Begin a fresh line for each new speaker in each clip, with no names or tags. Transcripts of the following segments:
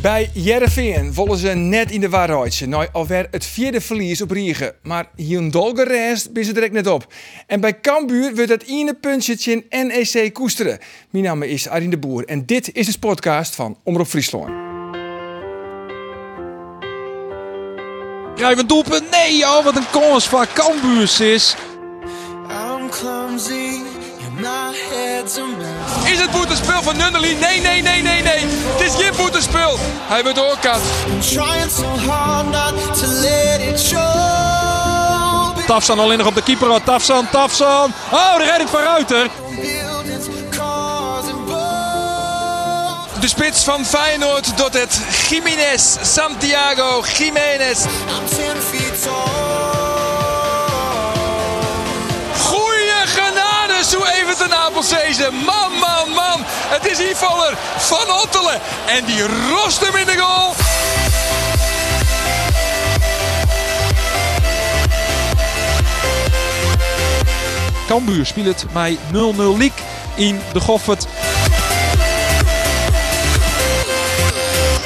Bij Jereveen wollen ze net in de waarheid. Nou, alweer het vierde verlies op Riegen. Maar hier een dolgerest ben ze direct net op. En bij Kambuur wordt het ene puntje in NEC koesteren. Mijn naam is Arine de Boer en dit is de podcast van Omroep Friesland.
Krijgen we een doelpunt? Nee, joh, wat een kans van Cambuurs is.
I'm clumsy and my head's a mess.
Is het boetenspel van Nundeli? Nee, nee, nee, nee, nee. Het is geen boetenspel. Hij wordt doorkant.
I'm trying so hard not to let it show.
Tafsan alleen nog op de keeper. af. Tafsan, Tafsan. Oh, de redding van Ruiter.
Between buildings, cars and boats.
De spits van Feyenoord doet het. Jiménez, Santiago, Jiménez.
I'm ten feet tall.
Goeie genade, zo even ten Apelzezen. Man, man, man. Het is hier valler van Ottelen. En die rost hem in de goal. Cambuur speelt het mij 0-0 leak in de Goffert.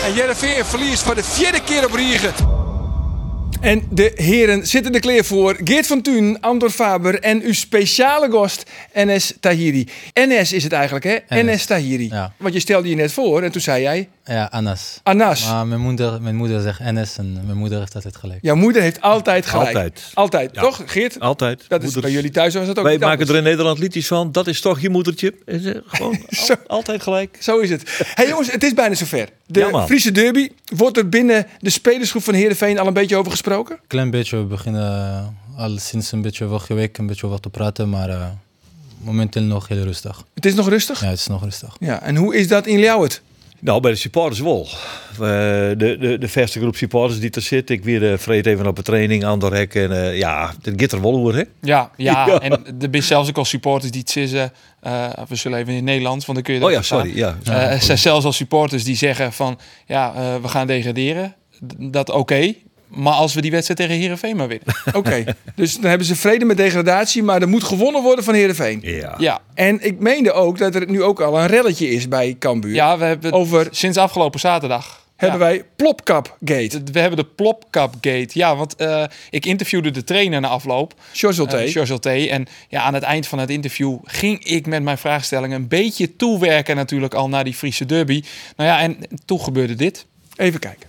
En Jereveen verliest voor de vierde keer op Riegen.
En de heren zitten er klaar voor. Geert van Tuin, Andor Faber en uw speciale gast NS Tahiri. NS is het eigenlijk, hè? NS,
NS
Tahiri.
ja.
Want je stelde je net voor en toen zei jij
Ja, Anas.
Anas.
Maar mijn moeder, mijn moeder zegt NS en mijn moeder heeft altijd gelijk.
Jouw moeder heeft altijd gelijk.
Altijd.
Altijd,
Ja.
toch, Geert?
Altijd.
Dat is
Moeders.
bij jullie thuis was dat ook
Wij
niet
maken
anders.
er in Nederland liedjes van. Dat is toch je moedertje. Is, eh, Gewoon al-
Zo.
altijd gelijk.
Zo is het. hey jongens, het is bijna zover. De
Ja, man.
Friese derby. Wordt er binnen de spelersgroep van Heerenveen al een beetje over gesproken?
Klein beetje, we beginnen al sinds een beetje vorige week een beetje wat te praten, maar eh, momenteel nog heel rustig.
Het is nog rustig?
Ja, het is nog rustig.
Ja, en hoe is dat in Ljouwert?
Nou, bij de supporters wel. Eh, de, de, de vaste groep supporters die er zit. Ik weer eh vreet even op de training aan de hek. En eh, ja, dat gaat er wel over, hè?
Ja, ja,
Ja.
en er zijn zelfs ook al supporters die het zeggen, eh, we zullen even in het Nederlands, want dan kun je
Oh
dat
ja, sorry. Ja.
verstaan. Eh, er zijn zelfs al supporters die zeggen van, ja, eh, we gaan degraderen, D- dat oké, maar als we die wedstrijd tegen Heerenveen maar winnen.
Oké, dus dan hebben ze vrede met degradatie, maar er moet gewonnen worden van Heerenveen.
ja.
ja,
En ik meende ook dat er nu ook al een relletje is bij Cambuur.
ja, we hebben
Over-
sinds afgelopen zaterdag.
Hebben
ja.
wij Plopkap Gate,
We hebben de plopkap gate. Ja, want eh, ik interviewde de trainer na afloop.
Chosolté.
Eh, George L.T. En ja, aan het eind van het interview ging ik met mijn vraagstellingen een beetje toewerken natuurlijk al naar die Friese derby. Nou ja, en toen gebeurde dit.
Even kijken.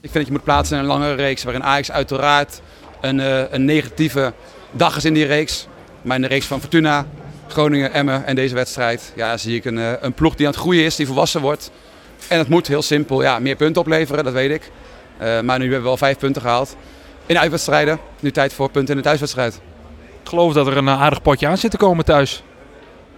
Ik vind dat je moet plaatsen in een langere reeks waarin Ajax uiteraard een, eh, een negatieve dag is in die reeks. Maar in de reeks van Fortuna, Groningen, Emmen en deze wedstrijd ja, zie ik een, eh, een ploeg die aan het groeien is, die volwassen wordt. En dat moet heel simpel ja, meer punten opleveren, dat weet ik. Eh, maar nu hebben we al vijf punten gehaald. In uitwedstrijden, nu tijd voor punten in de thuiswedstrijd.
Ik geloof dat er een aardig potje aan zit te komen thuis.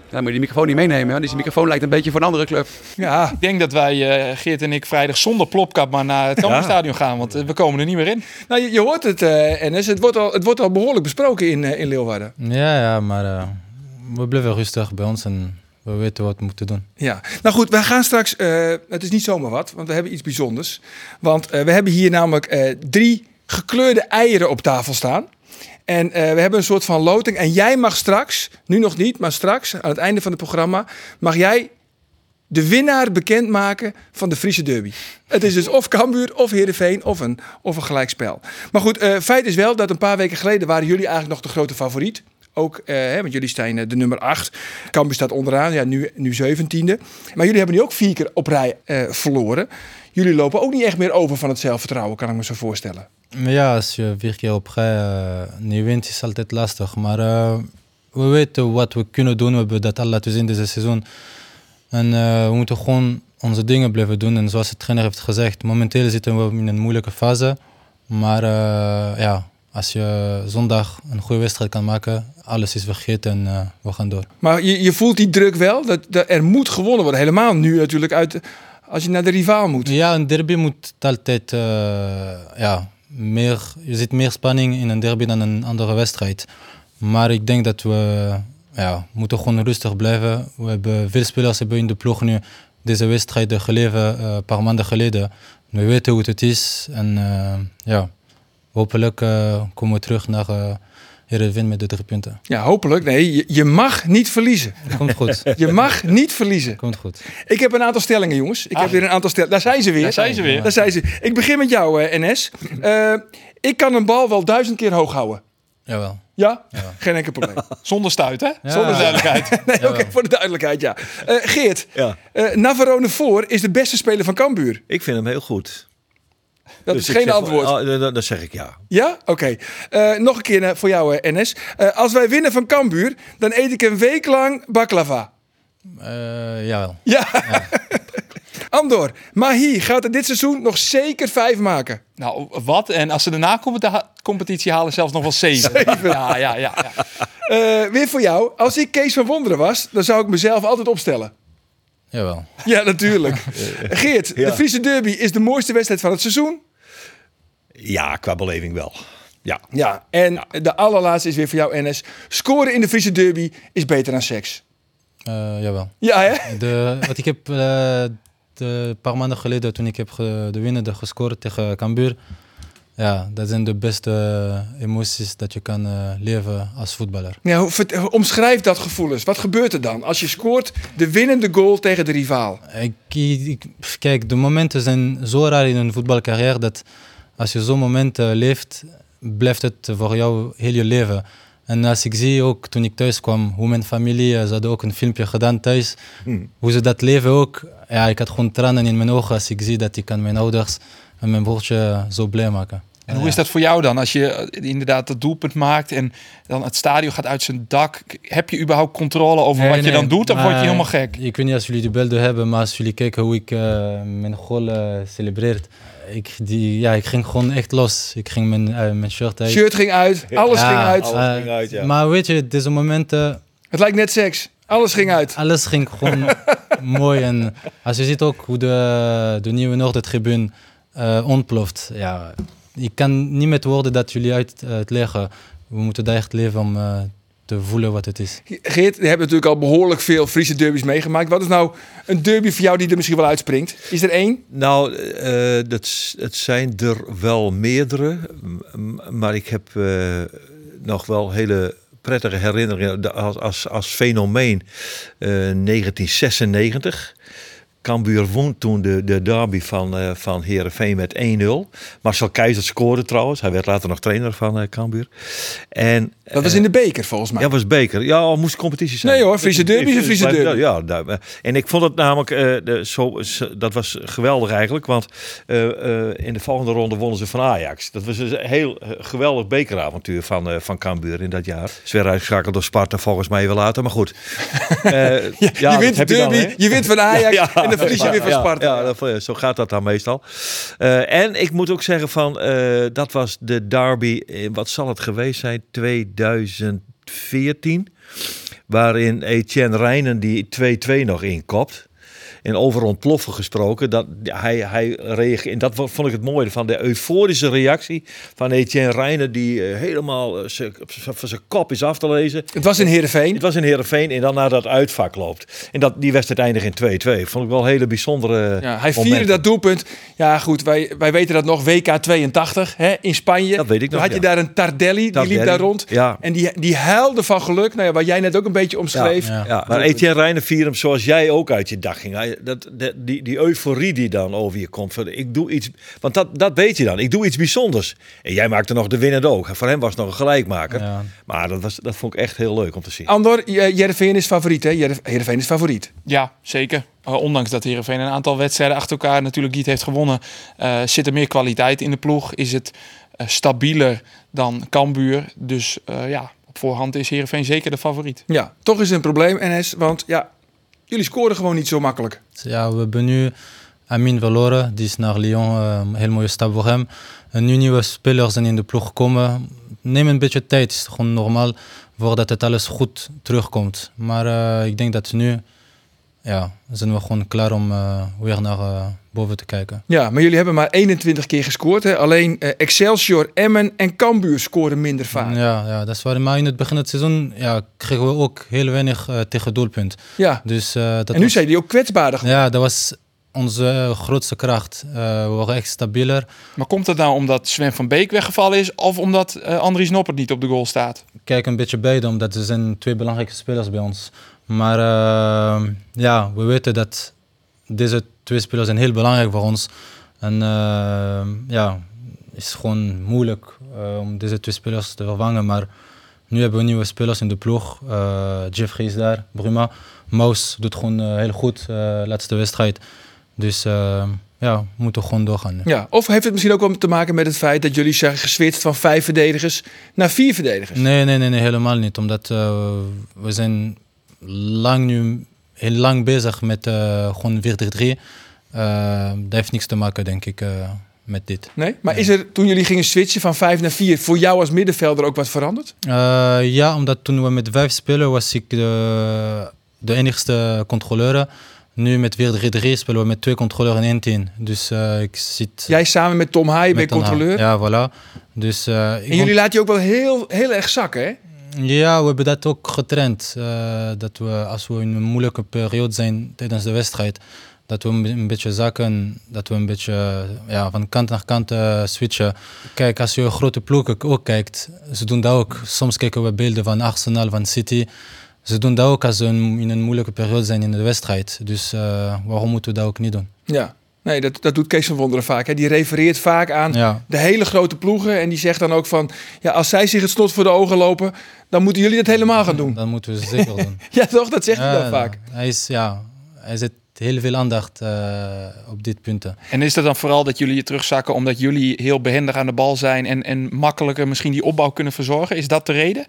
Ja, dan moet je die microfoon niet meenemen, hè. dus die microfoon lijkt een beetje voor een andere club.
Ja,
Ik denk dat wij, eh, Geert en ik, vrijdag zonder plopkap maar naar het Cambuurstadion gaan. Want eh, we komen er niet meer in.
nou, je, je hoort het, eh NS. Het wordt, al, het wordt al behoorlijk besproken in, eh, in Leeuwarden.
Ja, ja, maar eh, we blijven rustig bij ons en we weten wat we moeten doen.
Ja, nou goed, wij gaan straks. eh, het is niet zomaar wat, want we hebben iets bijzonders. Want eh, we hebben hier namelijk eh, drie gekleurde eieren op tafel staan. En eh, we hebben een soort van loting. En jij mag straks, nu nog niet, maar straks, aan het einde van het programma, mag jij de winnaar bekendmaken van de Friese derby. Het is dus of Cambuur, of Heerenveen, of een, of een gelijkspel. Maar goed, eh, feit is wel dat een paar weken geleden waren jullie eigenlijk nog de grote favoriet. Ook, eh, hè, want jullie zijn eh, de nummer 8. Cambuur staat onderaan, ja, nu, nu 17e. Maar jullie hebben nu ook vier keer op rij eh, verloren. Jullie lopen ook niet echt meer over van het zelfvertrouwen, kan ik me zo voorstellen.
Maar Ja, als je vier keer op rij eh, niet wint, is altijd lastig. Maar eh, we weten wat we kunnen doen. We hebben dat al laten zien deze seizoen. En eh, we moeten gewoon onze dingen blijven doen. En zoals de trainer heeft gezegd, momenteel zitten we in een moeilijke fase. Maar eh, ja, als je zondag een goede wedstrijd kan maken, alles is vergeten en eh, we gaan door.
Maar je, je voelt die druk wel, dat, dat er moet gewonnen worden. Helemaal nu natuurlijk, uit, als je naar de rivaal moet.
Ja, een derby moet altijd. eh, ja, meer, je zit meer spanning in een derby dan een andere wedstrijd. Maar ik denk dat we ja, we moeten gewoon rustig blijven. We hebben veel spelers hebben in de ploeg nu deze wedstrijden geleven, eh, een paar maanden geleden. We weten hoe het is en eh, ja, hopelijk eh, komen we terug naar eh Heerenveen met de drie punten.
Ja, hopelijk. Nee, je, je mag niet verliezen.
Komt goed,
Je mag niet verliezen.
komt goed.
Ik heb een aantal stellingen, jongens. Ik heb weer een aantal stellingen. Daar zijn ze weer.
Daar zijn ze weer.
Daar zijn ze. Ik begin met jou, eh, NS. Eh, ik kan een bal wel duizend keer hoog houden.
Jawel.
Ja? Geen enkel probleem.
Zonder stuit, hè?
Zonder
Zonder duidelijkheid.
Nee, oké, voor de duidelijkheid, ja. Eh, Geert,
Ja.
eh, Navarone voor is de beste speler van Cambuur.
Ik vind hem heel goed.
Dat
Dus
is
ik
geen
zeg-
antwoord.
Ah, dat- dat- dat zeg ik ja.
Ja? Oké. Eh, nog een keer eh, voor jou, eh, NS. Eh, als wij winnen van Cambuur, dan eet ik een week lang baklava.
Eh, jawel.
Ja. Andor, Mahi gaat er dit seizoen nog zeker vijf maken.
nou, wat? En als ze de na-competitie halen, zelfs nog wel zeven. Ja, ja, ja. ja.
Eh, weer voor jou. Als ik Kees van Wonderen was, dan zou ik mezelf altijd opstellen.
Jawel.
Ja, natuurlijk. Geert,
Ja.
de Friese derby is de mooiste wedstrijd van het seizoen.
Ja, qua beleving wel. Ja.
Ja, en de allerlaatste is weer voor jou, NS. Scoren in de Friese derby is beter dan seks.
Eh, jawel.
Ja, hè?
De, wat ik heb eh, de, een paar maanden geleden, toen ik heb ge- de winnende gescoord tegen Cambuur. Ja, dat zijn de beste emoties dat je kan eh, leven als voetballer.
Nou, vert- omschrijf dat gevoel eens. Wat gebeurt er dan als je scoort de winnende goal tegen de rivaal?
Ik, ik- pff, kijk, de momenten zijn zo raar in een voetbalcarrière dat als je zo'n moment eh, leeft, blijft het voor jou heel je leven. En als ik zie ook toen ik thuis kwam, hoe mijn familie, eh, ze hadden ook een filmpje gedaan thuis, hoe ze dat leven ook. Ja, ik had gewoon tranen in mijn ogen als ik zie dat ik kan mijn ouders en mijn broertje eh, zo blij maken.
En hoe is dat voor jou dan? Als je eh, inderdaad dat doelpunt maakt en dan het stadion gaat uit zijn dak. K- Heb je überhaupt controle over
Nee,
wat je
nee,
dan doet? Of word je
maar
helemaal gek?
Ik weet niet als jullie de beelden hebben, maar als jullie kijken hoe ik eh, mijn goal eh, celebreert. Ik, die, ja, ik ging gewoon echt los. Ik ging mijn, eh, mijn shirt uit.
Shirt ging uit, alles
Ja,
ging uit.
Alles
eh,
ging uit, ja.
Maar weet je, deze momenten,
Het lijkt net seks. Alles ging uit.
eh, alles ging gewoon mooi. En als je ziet ook hoe de, de nieuwe Noordertribune eh ontploft. Ja, ik kan niet met woorden dat jullie uit eh, het leggen. We moeten daar echt leven om eh, te voelen wat het is.
Geert, je hebt natuurlijk al behoorlijk veel Friese derbies meegemaakt. Wat is nou een derby voor jou die er misschien wel uitspringt? Is er één?
Nou, eh, dat, s- het zijn er wel meerdere. m- m- Maar ik heb eh, nog wel hele prettige herinneringen da- als, als, als fenomeen. eh, 1996. Cambuur won toen de, de derby van, eh van Heerenveen met 1-0. Marcel Keizer scoorde trouwens. Hij werd later nog trainer van eh Cambuur. En,
Dat was
eh,
in de beker volgens mij.
ja, was beker. Ja, al moest competitie zijn.
Nee hoor, Friese derby is een Friese derby.
Ja, daar- en ik vond het namelijk, eh, de- zo, zo- dat was geweldig eigenlijk, want eh, eh, in de volgende ronde wonnen ze van Ajax. Dat was dus een heel eh, geweldig bekeravontuur van, eh, van Cambuur in dat jaar. Ze werden uitgeschakeld door Sparta volgens mij wel later, maar goed. Eh, ja,
je
dat
wint de
heb je dan,
derby,
hè?
je, wint van Ajax en dan verlies je weer van
ja,
Sparta.
Ja, dat- eh, zo gaat dat dan meestal. Eh, en ik moet ook zeggen van, eh, dat was de derby, eh, wat zal het geweest zijn, 2014. Waarin Etienne Reinen die 2-2 nog inkopt. En over ontploffen gesproken, dat, hij, hij reageerde, en dat vond ik het mooie van de euforische reactie van Etienne Reinen, die eh, helemaal eh, zijn- van zijn kop is af te lezen.
Het was in Heerenveen.
Het was in Heerenveen en dan naar dat uitvak loopt. En dat, die wedstrijd eindigt in 2-2. Vond ik wel een hele bijzondere
Ja, hij vierde
momenten.
dat doelpunt. Ja, goed, wij, wij weten dat nog. WK 82 hè, in Spanje.
Dat weet ik
Toen
nog,
had je
ja.
daar een Tardelli, die liep
Tardelli,
daar rond.
ja.
En die, die huilde van geluk. Nou ja, wat jij net ook een beetje omschreef.
Ja.
Ja, maar Etienne Reiner vierde hem zoals jij ook uit je dag ging. Hij- Dat, dat- die, die euforie die dan over je komt. Van, ik doe iets, want dat, dat weet je dan. Ik doe iets bijzonders. En jij maakte nog de winnende ook. Voor hem was het nog een gelijkmaker.
Ja.
Maar dat, was, dat vond ik echt heel leuk om te zien.
Andor, J- Heerenveen is favoriet, hè? Heer- Heerenveen is favoriet.
Ja, zeker. Eh, ondanks dat Heerenveen een aantal wedstrijden achter elkaar natuurlijk niet heeft gewonnen, eh, zit er meer kwaliteit in de ploeg. Is het eh, stabieler dan Cambuur. Dus eh, ja, op voorhand is Heerenveen zeker de favoriet.
Ja, toch is het een probleem, NS. Want ja, jullie scoren gewoon niet zo makkelijk.
Ja, we hebben nu Amin verloren. Die is naar Lyon. eh, een heel mooie stap voor hem. En nu nieuwe spelers zijn in de ploeg gekomen. Neem een beetje tijd. Het is gewoon normaal voordat het alles goed terugkomt. Maar eh, ik denk dat nu ja, dan zijn we gewoon klaar om eh, weer naar eh, boven te kijken.
Ja, maar jullie hebben maar 21 keer gescoord. Hè? Alleen eh, Excelsior, Emmen en Cambuur scoren minder vaak. Ja,
Ja, ja, dat is waar. Maar in het begin van het seizoen ja, kregen we ook heel weinig eh, tegen doelpunt. Dus, eh, dat
en nu
was-
zijn jullie ook kwetsbaarder. geworden.
Ja, dat was onze grootste kracht. Eh, we waren echt stabieler.
Maar komt dat nou omdat Sven van Beek weggevallen is of omdat eh, Andries Noppert niet op de goal staat?
kijk een beetje beide, omdat er zijn twee belangrijke spelers bij ons. Maar eh, ja, we weten dat deze twee spelers zijn heel belangrijk voor ons. En eh, ja, het is gewoon moeilijk eh, om deze twee spelers te vervangen. Maar nu hebben we nieuwe spelers in de ploeg. Eh, Jeffrey is daar, Bruma. Maus doet gewoon eh, heel goed de laatste wedstrijd. Dus eh, ja, we moeten gewoon doorgaan. nu.
Ja, of heeft het misschien ook wel te maken met het feit dat jullie zijn geswitst van vijf verdedigers naar vier verdedigers?
Nee, nee, nee, nee, helemaal niet. Omdat eh, we zijn lang nu heel lang bezig met eh, gewoon 4-3-3. Eh, dat heeft niks te maken, denk ik, eh, met dit.
Nee? Maar is er toen jullie gingen switchen van vijf naar vier voor jou als middenvelder ook wat veranderd?
Eh, ja, omdat toen we met vijf spelen was ik de, de enigste controleur. Nu met 4-3-3 spelen we met twee controleurs in één team. Dus eh, ik zit...
Jij samen met Tom Haaien bent
met een-
controleur.
Ja, voilà. Dus, eh, ik
En
vond-
jullie laten je ook wel heel, heel erg zakken, hè?
Ja, we hebben dat ook getraind. eh, dat we als we in een moeilijke periode zijn tijdens de wedstrijd, dat we een be- een beetje zakken, dat we een beetje eh, ja, van kant naar kant eh, switchen. Kijk, als je grote ploegen ook kijkt, ze doen dat ook. Soms kijken we beelden van Arsenal, van City. Ze doen dat ook als ze in in een moeilijke periode zijn in de wedstrijd. Dus eh, waarom moeten we dat ook niet doen?
Ja. Nee, dat, dat doet Kees van Wonderen vaak. Hè? Die refereert vaak aan
Ja.
de hele grote ploegen. En die zegt dan ook van, ja, als zij zich het slot voor de ogen lopen, dan moeten jullie dat helemaal gaan doen.
Dat moeten we zeker doen.
Ja, toch? Dat zegt hij
Ja,
dan vaak.
Hij, is, ja, hij zet heel veel aandacht eh, op dit punten.
En is dat dan vooral dat jullie je terugzakken omdat jullie heel behendig aan de bal zijn en, en makkelijker misschien die opbouw kunnen verzorgen? Is dat de reden?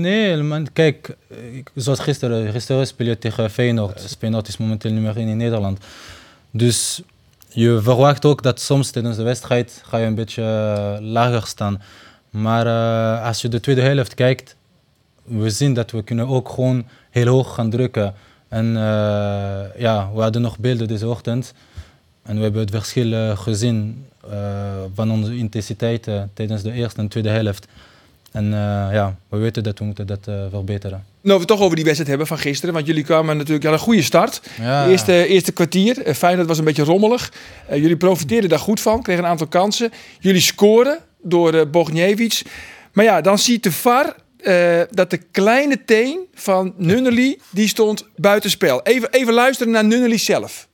Nee, helemaal niet. Kijk, ik- zoals gisteren. Gisteren speel je tegen Feyenoord. Feyenoord is momenteel nummer 1 in Nederland. Dus je verwacht ook dat soms tijdens de wedstrijd ga je een beetje eh, lager staan. Maar eh, als je de tweede helft kijkt, we zien dat we kunnen ook gewoon heel hoog gaan drukken. En eh, ja, we hadden nog beelden deze ochtend. En we hebben het verschil eh, gezien eh, van onze intensiteit eh, tijdens de eerste en tweede helft. En eh, ja, we weten dat we moeten dat eh, verbeteren.
Nou, we het toch over die wedstrijd hebben van gisteren. Want jullie kwamen natuurlijk aan een goede start.
Ah.
Ja.
Eerste, eerste kwartier. Eh, Feyenoord was een beetje rommelig. Eh, jullie profiteerden daar goed van. Kregen een aantal kansen. Jullie scoren door eh Bogniewicz. Maar ja, dan ziet de VAR eh, dat de kleine teen van Nunnely... die stond buitenspel. Even, even luisteren naar Nunnely zelf.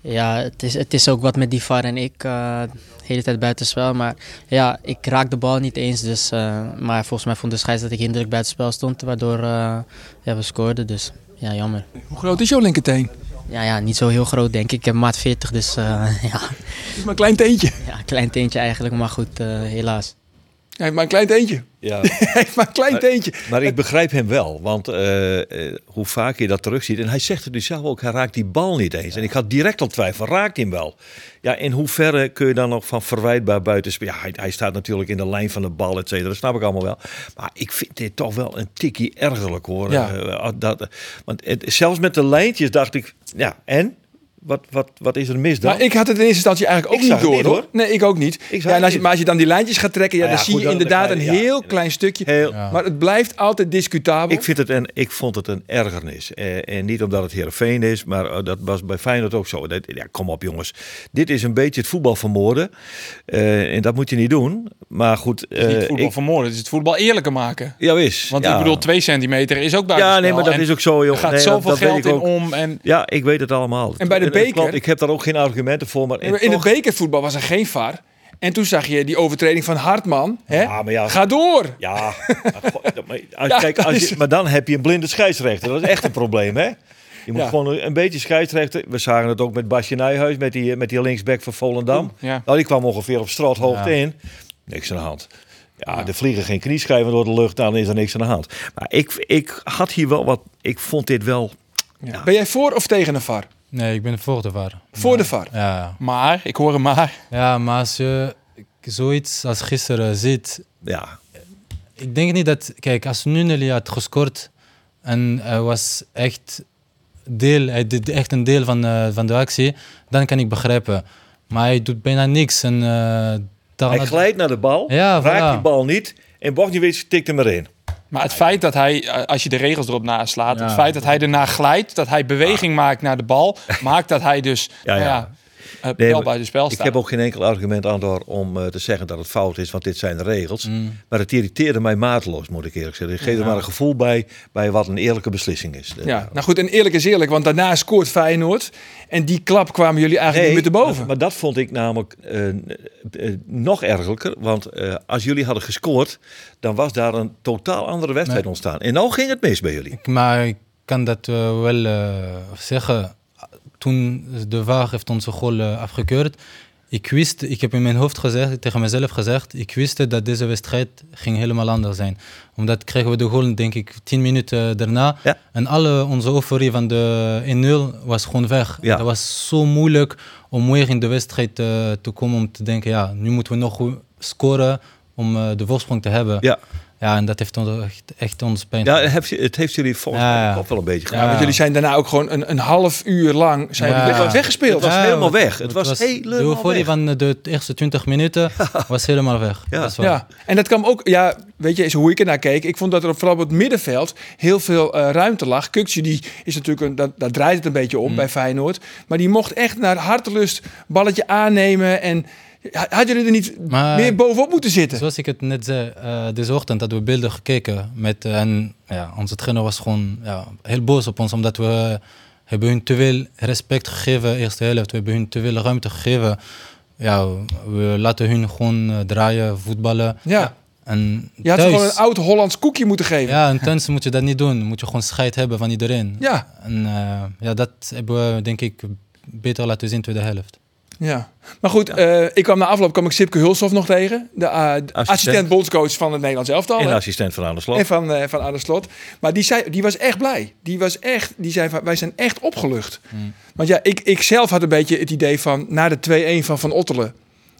Ja, het is, het is ook wat met die VAR en ik. eh, de hele tijd buitenspel. Maar ja, ik raak de bal niet eens. Dus, eh, maar volgens mij vond de scheids dat ik hinderlijk buitenspel stond. Waardoor eh, ja, we scoorden. Dus ja, jammer.
Hoe groot is jouw linkerteen?
Ja, ja, niet zo heel groot denk ik. Ik heb maat 40. Dus eh, ja,
Het is maar een klein teentje.
ja, klein teentje eigenlijk. Maar goed, eh, helaas.
Hij heeft maar een klein teentje.
Ja.
Hij heeft maar een
Eh,
klein teentje.
Maar ik begrijp hem wel, want eh, eh, hoe vaak je dat terugziet. En hij zegt het nu zelf ook, hij raakt die bal niet eens. En ik had direct al twijfel, raakt hij hem wel? Ja, in hoeverre kun je dan nog van verwijtbaar buiten spelen? Ja, hij, hij staat natuurlijk in de lijn van de bal, et cetera. Dat snap ik allemaal wel. Maar ik vind dit toch wel een tikkie ergerlijk hoor.
Ja.
Eh, dat, want het- zelfs met de lijntjes dacht ik, ja, en? Wat, wat, wat is er mis dan?
Maar ik had het in eerste instantie eigenlijk ook
Ik
niet
zag
door,
het niet,
hoor. Nee, ik ook niet.
zag
ja,
het
en als je,
niet.
maar als je dan die lijntjes gaat trekken, ja,
Nou ja,
dan zie
goed,
je
dan-
inderdaad
dan-
een
ja,
heel
ja.
klein stukje.
Heel-
Maar het blijft altijd discutabel.
Ik, vind het een, ik vond het een ergernis. Eh, en niet omdat het Heerenveen is, maar eh, dat was bij Feyenoord ook zo. Dat, ja, kom op jongens. Dit is een beetje het voetbal vermoorden. Eh, en dat moet je niet doen. Maar goed.
Het is niet
eh,
voetbal
ik-
vermoorden, dus het is het voetbal eerlijker maken.
ja, wis.
Want
ja.
ik bedoel, twee centimeter is ook buitenspel.
Ja, nee, maar dat
En
is ook zo, joh.
Er gaat
Nee, dat-
zoveel
dat weet
geld
ik
in
ook.
om en
Ja, ik weet het allemaal.
En bij de
het
beker-
klopt, ik heb daar ook geen argumenten voor. Maar,
Ja, maar in
toch-
het bekervoetbal was er geen VAR. En toen zag je die overtreding van Hartman. Hè?
Ja, Ah, maar ja.
Ga door!
Ja, maar goh, maar als,
Ja,
kijk,
dat
als
is
je,
het.
maar dan heb je een blinde scheidsrechter. Dat is echt een probleem, hè? Je moet
Ja.
gewoon een, een beetje scheidsrechter. We zagen het ook met Basje Nijhuis, met die, met die linksback van Volendam.
ja.
Nou, die kwam ongeveer op straathoogte
Ja.
in. Niks aan de hand. Ja, er vliegen geen knieschijven door de lucht, dan is er niks aan de hand. Maar ik, ik had hier wel wat... Ik vond dit wel...
Ja. Ben jij voor of tegen een VAR?
Nee, ik ben voor de VAR.
Voor de VAR.
Ja,
maar, ik hoor hem maar.
ja maar als je zoiets als gisteren ziet,
Ja,
ik denk niet dat... Kijk, als Nunnely had gescoord en hij was echt deel, hij deed echt een deel van, eh, van de actie, dan kan ik begrijpen. Maar hij doet bijna niks. En, eh, daarna-
Hij glijdt naar de bal,
Ja,
raakt
voilà.
die bal niet. En Bogniewicz tikt hem erin.
Maar het feit dat hij, eh, als je de regels erop naslaat,
Ja.
het feit dat hij erna glijdt, dat hij beweging maakt naar de bal, maakt dat hij dus
Ah. Ja,
nou ja.
ja.
eh,
Nee,
wel
maar
buiten spel
Ik
staat.
heb ook geen enkel argument, Andor, om eh, te zeggen dat het fout is, want dit zijn de regels. Maar het irriteerde mij mateloos, moet ik eerlijk zeggen. Ik geef er maar een gevoel bij, bij wat een eerlijke beslissing is. Eh,
ja.
Nou goed, en eerlijk is eerlijk, want daarna scoort Feyenoord. En die klap kwamen jullie eigenlijk niet meer te boven.
Eh, Maar, maar dat vond ik namelijk eh, eh, eh, nog ergerlijker. Want eh, als jullie hadden gescoord, dan was daar een totaal andere wedstrijd ontstaan. En nou ging het mis bij jullie.
Maar ik kan dat eh, wel eh, zeggen. Toen de VAR heeft onze goal eh, afgekeurd. Ik wist, ik heb in mijn hoofd gezegd, tegen mezelf gezegd, ik wist dat deze wedstrijd ging helemaal anders zijn. Omdat kregen we de goal, denk ik, tien minuten eh, daarna.
Ja.
En alle onze euforie van de 1-0 was gewoon weg.
Ja.
Dat was zo moeilijk om weer in de wedstrijd eh, te komen om te denken, ja, nu moeten we nog goed scoren om eh, de voorsprong te hebben.
Ja,
Ja, en dat heeft ons echt, echt ons pijn
ja het heeft- het heeft jullie volgens
Ja,
mij
ja.
ook wel een beetje gedaan.
Ja, want
Ja.
jullie zijn daarna ook gewoon een, een half uur lang zijn
Ja.
jullie weg-
Het
weggespeeld.
was
Ja,
helemaal
want-
weg. Het was helemaal
De euforie
weg.
van de eerste 20 minuten was helemaal weg.
Ja.
Dat is waar.
Ja, en dat kwam ook, ja, weet je, is hoe ik ernaar keek. Ik vond dat er op- vooral op het middenveld heel veel eh, ruimte lag. Kukje, die is natuurlijk, een, dat, daar draait het een beetje
Mm.
om bij Feyenoord. Maar die mocht echt naar hartelust balletje aannemen. En ha- hadden jullie er niet
Maar-
meer bovenop moeten zitten?
Zoals ik het net zei, eh deze ochtend hadden we beelden gekeken. Met, eh, en ja, onze trainer was gewoon ja, heel boos op ons, omdat we eh, hebben hun te veel respect gegeven, eerste helft. We hebben hun te veel ruimte gegeven. Ja, we laten hun gewoon eh, draaien, voetballen.
Ja,
En
je had ze
thuis,
gewoon een oud Hollands koekje moeten geven. Ja,
ja, en thuis moet je dat niet doen. Moet je gewoon scheid hebben van iedereen.
ja.
En eh, ja, dat hebben we denk ik beter laten zien in de tweede helft.
Maar goed, eh, ik kwam na afloop kwam ik Sipke Hulshoff nog tegen. De, eh, de
Assistent.
assistent bondscoach van het Nederlands elftal.
En
hè?
assistent van aan de slag.
En van, eh van Arne Slot. Maar die, zei, die was echt blij. Die, was echt, die zei van, wij zijn echt opgelucht. Want ja, ik, ik zelf had een beetje het idee van... na de 2-1 van Van Ottelen...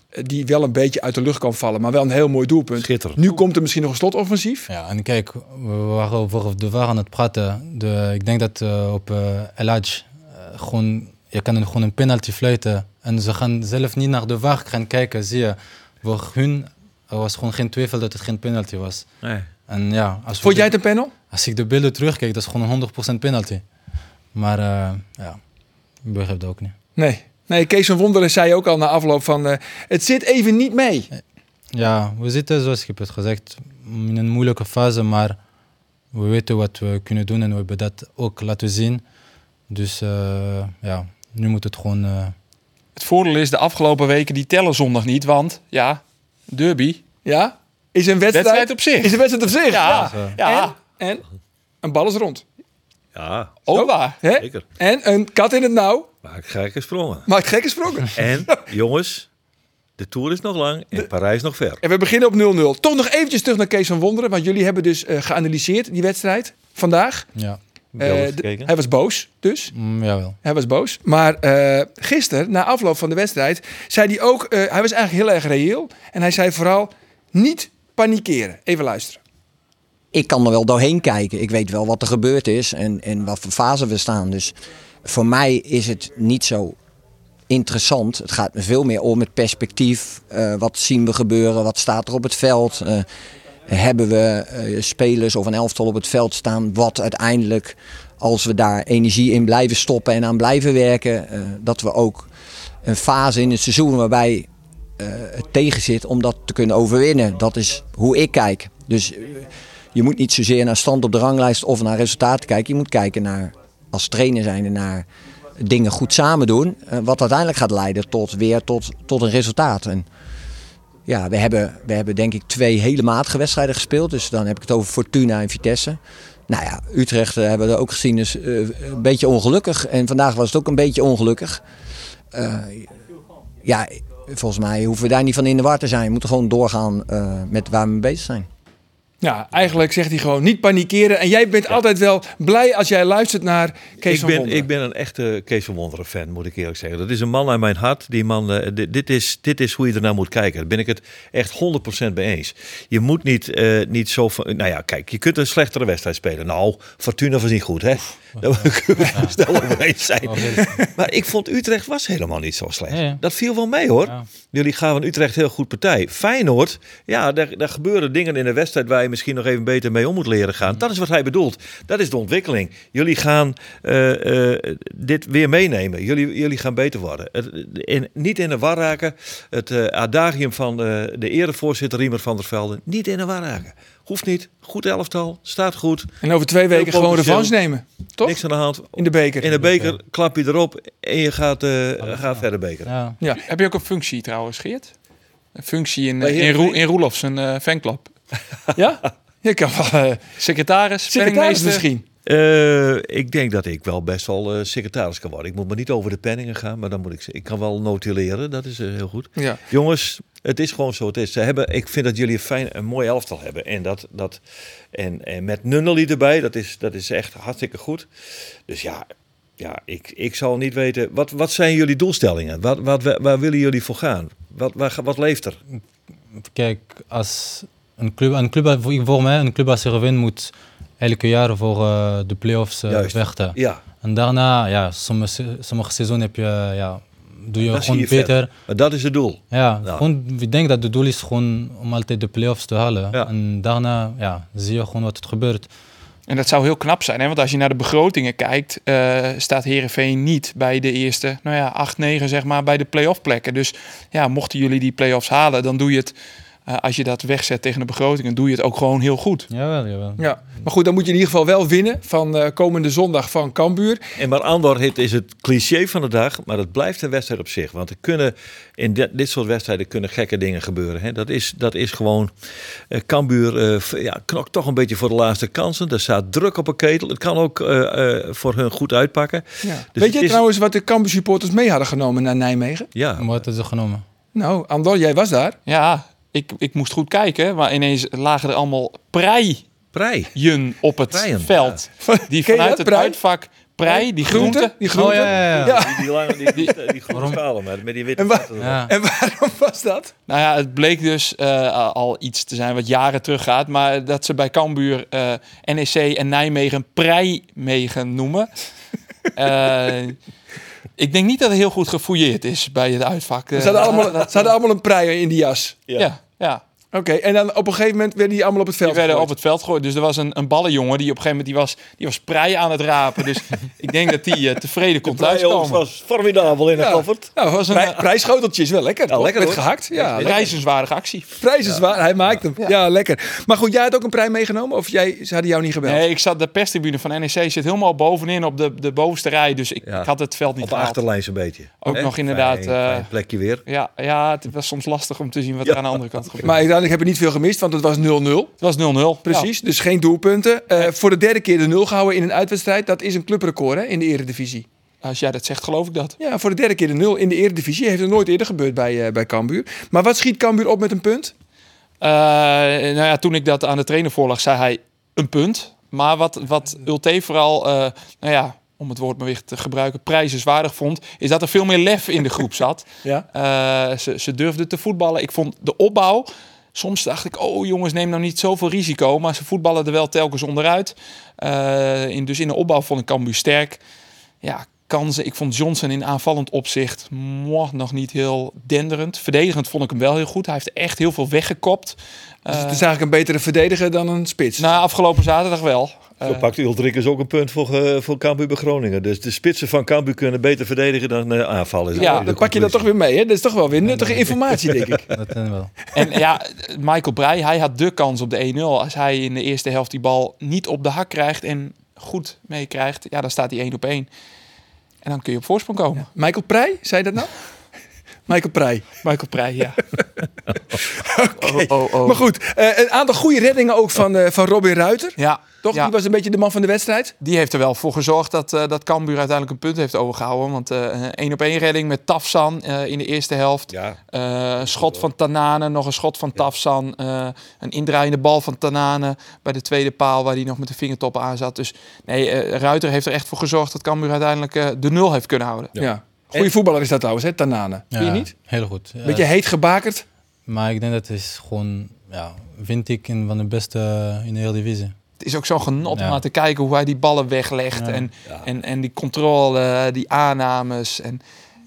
eh, die wel een beetje uit de lucht kan vallen... maar wel een heel mooi doelpunt.
Schitterend.
Nu komt er misschien nog een slotoffensief.
Ja, en kijk, we waren over de waar aan het praten. De, ik denk dat eh, op eh El Hadj eh, gewoon, je kan een- gewoon een penalty fluiten. En ze gaan zelf niet naar de waar gaan kijken, zie je. Voor hun er was gewoon geen twijfel dat het geen penalty was.
Nee.
En ja, als, we
Vond
de-
jij het een panel?
als ik de beelden terugkijk, dat is gewoon 100% penalty. Maar eh, ja, ik begrijp dat ook niet.
Nee. Nee, Kees van Wonderen zei ook al na afloop van... eh, het zit even niet mee.
Ja, we zitten, zoals ik heb het gezegd, in een moeilijke fase, maar we weten wat we kunnen doen en we hebben dat ook laten zien. Dus eh, ja, nu moet het gewoon. eh,
Het voordeel is, de afgelopen weken die tellen zondag niet, want ja, derby,
Ja? Is een wedstrijd,
wedstrijd op zich.
Is een wedstrijd op zich?
Ja,
Ja.
ja
En, en een bal is rond.
Ja,
ook waar.
Hè?
zeker.
En een kat in het nauw
Maar ik ga ik sprongen.
maakt gekke sprongen.
En jongens, de Tour is nog lang en Parijs nog ver.
En we beginnen op 0-0. Toch nog eventjes terug naar Kees van Wonderen. Want jullie hebben dus eh, geanalyseerd die wedstrijd vandaag.
ja,
Eh, d-
gekeken.
hij was boos, dus.
mm, jawel.
Hij was boos. Maar eh gisteren, na afloop van de wedstrijd, zei hij ook... eh, hij was eigenlijk heel erg reëel. En hij zei vooral, niet panikeren. Even luisteren.
ik kan er wel doorheen kijken. Ik weet wel wat er gebeurd is en, en wat voor fase we staan. Dus voor mij is het niet zo interessant. Het gaat me veel meer om het perspectief. Eh, wat zien we gebeuren? Wat staat er op het veld? Eh, hebben we eh, spelers of een elftal op het veld staan? Wat uiteindelijk, als we daar energie in blijven stoppen en aan blijven werken, eh, dat we ook een fase in het seizoen waarbij eh, het tegen zit om dat te kunnen overwinnen. Dat is hoe ik kijk. Dus eh, je moet niet zozeer naar stand op de ranglijst of naar resultaten kijken. Je moet kijken naar, als trainer zijn, naar dingen goed samen doen. eh, Wat uiteindelijk gaat leiden tot weer tot, tot een resultaat. En ja, we hebben, we hebben denk ik twee hele matige wedstrijden gespeeld. Dus dan heb ik het over Fortuna en Vitesse. Nou ja, Utrecht eh, hebben we er ook gezien, is eh, een beetje ongelukkig. En vandaag was het ook een beetje ongelukkig. Eh, ja, volgens mij hoeven we daar niet van in de war te zijn. We moeten gewoon doorgaan eh, met waar we mee bezig zijn.
Ja, eigenlijk zegt hij gewoon niet panikeren. En jij bent altijd wel blij als jij luistert naar Kees
ik
van
ben,
Wonderen.
ik ben een echte Kees van Wonderen fan, moet ik eerlijk zeggen. Dat is een man naar mijn hart. Die man, eh, dit, dit is, dit is hoe je ernaar moet kijken. Daar ben ik het echt 100% mee eens. Je moet niet, eh, niet zo van... Nou ja, kijk, je kunt een slechtere wedstrijd spelen. Nou, Fortuna was niet goed, hè? Daar kunnen we het snel over eens zijn.
Wel heel-
Maar ik vond Utrecht was helemaal niet zo slecht.
Ja, ja.
Dat viel wel mee hoor.
Ja.
Jullie gaven Utrecht heel goed partij. Feyenoord, ja, daar, daar gebeuren dingen in de wedstrijd waar je misschien nog even beter mee om moet leren gaan. Dat is wat hij bedoelt. Dat is de ontwikkeling. Jullie gaan eh, eh, dit weer meenemen. Jullie, jullie gaan beter worden. Het, in, niet in de war raken. Het eh, adagium van eh, de erevoorzitter Riemer van der Velde. Niet in de war raken. Hoeft niet. Goed elftal. Staat goed.
En over twee weken
Heel
gewoon
potentieel.
revanche nemen. Toch?
Niks aan de hand.
In de beker.
In de beker klap je erop en je gaat, eh, gaat verder bekeren.
Ja.
Heb je ook een functie trouwens, Geert? Een functie in,
Bij
eh, in,
Heerenveen?
Roel, in Roelofs, een eh, fanclub.
Ja? Je kan wel eh,
Secretaris,
secretaris
penningmeester.
misschien.
Eh, ik denk dat ik wel best wel eh, secretaris kan worden. Ik moet maar niet over de penningen gaan, maar dan moet ik, ik kan wel notuleren. Dat is eh, heel goed.
Ja.
Jongens, het is gewoon zo. Het is. Ze hebben, ik vind dat jullie een, fijn, een mooi elftal hebben. En, dat, dat, en, en met Nunnely erbij, dat is, dat is echt hartstikke goed. Dus ja, ja ik, ik zal niet weten. Wat, wat zijn jullie doelstellingen? Wat, wat, waar willen jullie voor gaan? Wat, waar, wat leeft er?
Kijk, als een club, een club voor- voor mij, een club als Heerenveen moet elke jaar voor eh, de play-offs eh,
Juist.
vechten.
Ja,
En daarna, ja, sommige, se- sommige seizoen heb je, ja, doe je
Dat zie
gewoon
je
beter.
verder. maar dat is het doel.
Ja,
Ja.
Gewoon, ik denk dat het doel is gewoon om altijd de play-offs te halen.
Ja.
En daarna ja, zie je gewoon wat het gebeurt.
En dat zou heel knap zijn, hè? want als je naar de begrotingen kijkt, eh, staat Herenveen niet bij de eerste, nou ja, 8, 9 zeg maar, bij de play-off plekken. Dus ja, mochten jullie die play-offs halen, dan doe je het, eh, als je dat wegzet tegen de begrotingen, doe je het ook gewoon heel goed.
Jawel, jawel.
Ja. Maar goed, dan moet je in ieder geval wel winnen van eh, komende zondag van Cambuur.
En maar Andor het is het cliché van de dag, maar het blijft een wedstrijd op zich. Want er kunnen, in dit- dit soort wedstrijden kunnen gekke dingen gebeuren. Hè. Dat, is, dat is gewoon, eh, Cambuur eh, v- ja, knokt toch een beetje voor de laatste kansen. Er staat druk op een ketel. Het kan ook eh, eh, voor hun goed uitpakken. Dus
Weet je
het is-
trouwens wat de Cambuur supporters mee hadden genomen naar Nijmegen?
Ja,
En Wat is er genomen?
Nou, Andor, jij was daar.
Ja, ik, ik moest goed kijken, maar ineens lagen er allemaal prei-jen
prei.
op het
Preien,
veld. Die
Ken je
vanuit
dat,
het
prei?
uitvak, prei, die
Groenten?
groente.
Die groenten.
Oh, ja,
Ja.
Die, die lange, die, die, die groene
Waarom?
stalen met, met die witte
En waar-
vaten erop.
Ja.
En waarom was dat?
Nou ja, het bleek dus eh, al iets te zijn wat jaren teruggaat. Maar dat ze bij Cambuur eh, NEC en Nijmegen Prijmegen noemen. Eh, ik denk niet dat het heel goed gefouilleerd is bij het uitvak. eh,
Ze hadden allemaal, ze hadden allemaal een preier in die jas.
ja. ja,
Oké, en dan op een gegeven moment werden die allemaal op het veld
Die werden op
gegooid.
het veld gegooid. Dus er was een, een ballenjongen die op een gegeven moment... die was, die was prei aan het rapen. Dus ik denk dat die eh, tevreden komt
Prei jongens,
thuiskomen.
was formidabel in de
Ja.
koffert.
Nou, was een
Prei-
prijsschoteltje is wel lekker.
Ja,
toch?
lekker,
Werd
hoor.
gehakt. Ja, lekker.
Reizenswaardige actie.
prijs is waar. Hij maakt hem. Ja. lekker. Maar goed, jij had ook een prei meegenomen? Of jij, ze hadden jou niet gebeld?
Nee, ik zat de perstribune van NEC zit helemaal bovenin op de, de bovenste rij. Dus ik,
Ja.
ik had het veld niet
Op de
gehaald.
achterlijn zo'n beetje.
Ook
Hè?
nog inderdaad,
Fijn, fijn
eh,
plekje weer.
Ja, ja, het was soms lastig om te zien wat er
Ja.
aan de andere kant gebeurt.
Maar uiteindelijk heb je niet veel gemist, want het was 0-0.
het was 0-0.
Precies, dus geen doelpunten. Eh, Voor de derde keer de nul gehouden in een uitwedstrijd. Dat is een clubrecord hè, in de eredivisie.
Ja, als jij dat zegt, geloof ik dat.
Ja, voor de derde keer de nul in de eredivisie. Heeft er nooit eerder gebeurd bij, eh, bij Cambuur. Maar wat schiet Cambuur op met een punt?
Eh, nou ja, toen ik dat aan de trainer voorlag, zei hij een punt. Maar wat, wat Ulte vooral, eh, nou ja, om het woord maar weer te gebruiken, prijzenswaardig vond, is dat er veel meer lef in de groep zat.
Ja.
Eh, ze, ze durfden te voetballen. Ik vond de opbouw. Soms dacht ik, oh jongens, neem nou niet zoveel risico. Maar ze voetballen er wel telkens onderuit. Eh, in, dus in de opbouw vond ik Cambuur sterk. Ja, kansen. Ik vond Johnson in aanvallend opzicht moi, nog niet heel denderend. Verdedigend vond ik hem wel heel goed. Hij heeft echt heel veel weggekopt.
Dus het
Eh,
is eigenlijk een betere verdediger dan een spits.
na afgelopen zaterdag wel. Eh,
Zo pakt Ultrikers ook een punt voor, eh, voor Cambuur bij Groningen. Dus de spitsen van Cambuur kunnen beter verdedigen dan eh, aanvallen.
Ja,
de
dan pak je dat toch weer mee. Hè? Dat is toch wel weer nuttige informatie, denk ik.
Dat is wel.
En ja, Michael Breij, hij had de kans op de 1-0. Als hij in de eerste helft die bal niet op de hak krijgt en goed meekrijgt, ja, dan staat hij 1 op 1. En dan kun je op voorsprong komen.
Michael Prij, zei je dat nou? Michael Prij.
Michael Breij, ja.
Maar goed, eh, een aantal goede reddingen ook van, eh, van Robin Ruiter.
ja.
Toch?
ja.
Die was een beetje de man van de wedstrijd.
Die heeft er wel voor gezorgd dat, eh dat Cambuur uiteindelijk een punt heeft overgehouden. Want eh, een 1 op 1 redding met Tafsan eh, in de eerste helft.
Ja,
Eh, een schot van Tanane, nog een schot van Tafsan. eh, een indraaiende bal van Tanane bij de tweede paal waar hij nog met de vingertoppen aan zat. Dus nee, eh, Ruiter heeft er echt voor gezorgd dat Cambuur uiteindelijk eh, de nul heeft kunnen houden.
Ja. Goede voetballer is dat trouwens, hè? Tanane. Vind je
Ja,
niet?
Heel goed. Ja,
Beetje heet gebakerd.
Maar ik denk dat het is gewoon, ja, vind ik, een van de beste eh, in de hele divisie.
Het is ook zo'n genot
Ja.
om aan te kijken hoe hij die ballen weglegt.
Ja.
En, En, en die controle, die aannames. En,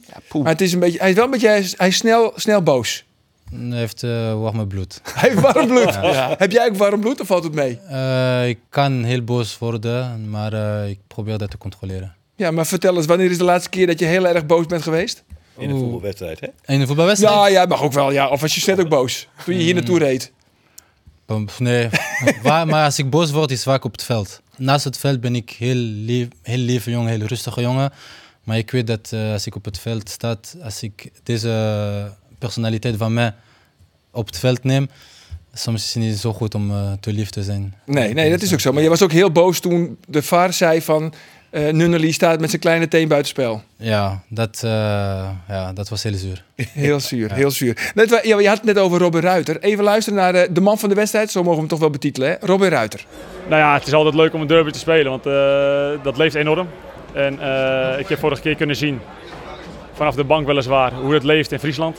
ja, poeh.
Maar het is een beetje, hij is wel een beetje, hij is, hij is snel, snel boos.
Hij heeft eh warme bloed.
Hij heeft warm bloed. Heb jij ook warm bloed of valt het mee?
Eh, ik kan heel boos worden, maar eh, ik probeer dat te controleren.
Ja, maar vertel eens, wanneer is de laatste keer dat je heel erg boos bent geweest?
In een voetbalwedstrijd, hè?
In de voetbalwedstrijd?
Ja, jij mag ook wel, ja. Of was je net ook boos toen je hier naartoe reed?
Um, Nee, Waar- maar als ik boos word, is vaak op het veld. Naast het veld ben ik heel lief, heel lieve jongen, heel rustige jongen. Maar ik weet dat eh, als ik op het veld sta, als ik deze personaliteit van mij op het veld neem, soms is het niet zo goed om eh, te lief te zijn.
Nee, nee, dat is ook zo. Maar je was ook heel boos toen de VAR zei van... eh Nunnely staat met zijn kleine teen buitenspel.
Ja, dat, eh, ja, dat was heel zuur.
Heel zuur, heel zuur. Net, wa- ja, je had het net over Robin Ruiter. Even luisteren naar eh, de man van de wedstrijd. Zo mogen we hem toch wel betitelen, hè? Robin Ruiter.
Nou ja, het is altijd leuk om een derby te spelen, want eh, dat leeft enorm. En eh, ik heb vorige keer kunnen zien, vanaf de bank weliswaar, hoe het leeft in Friesland.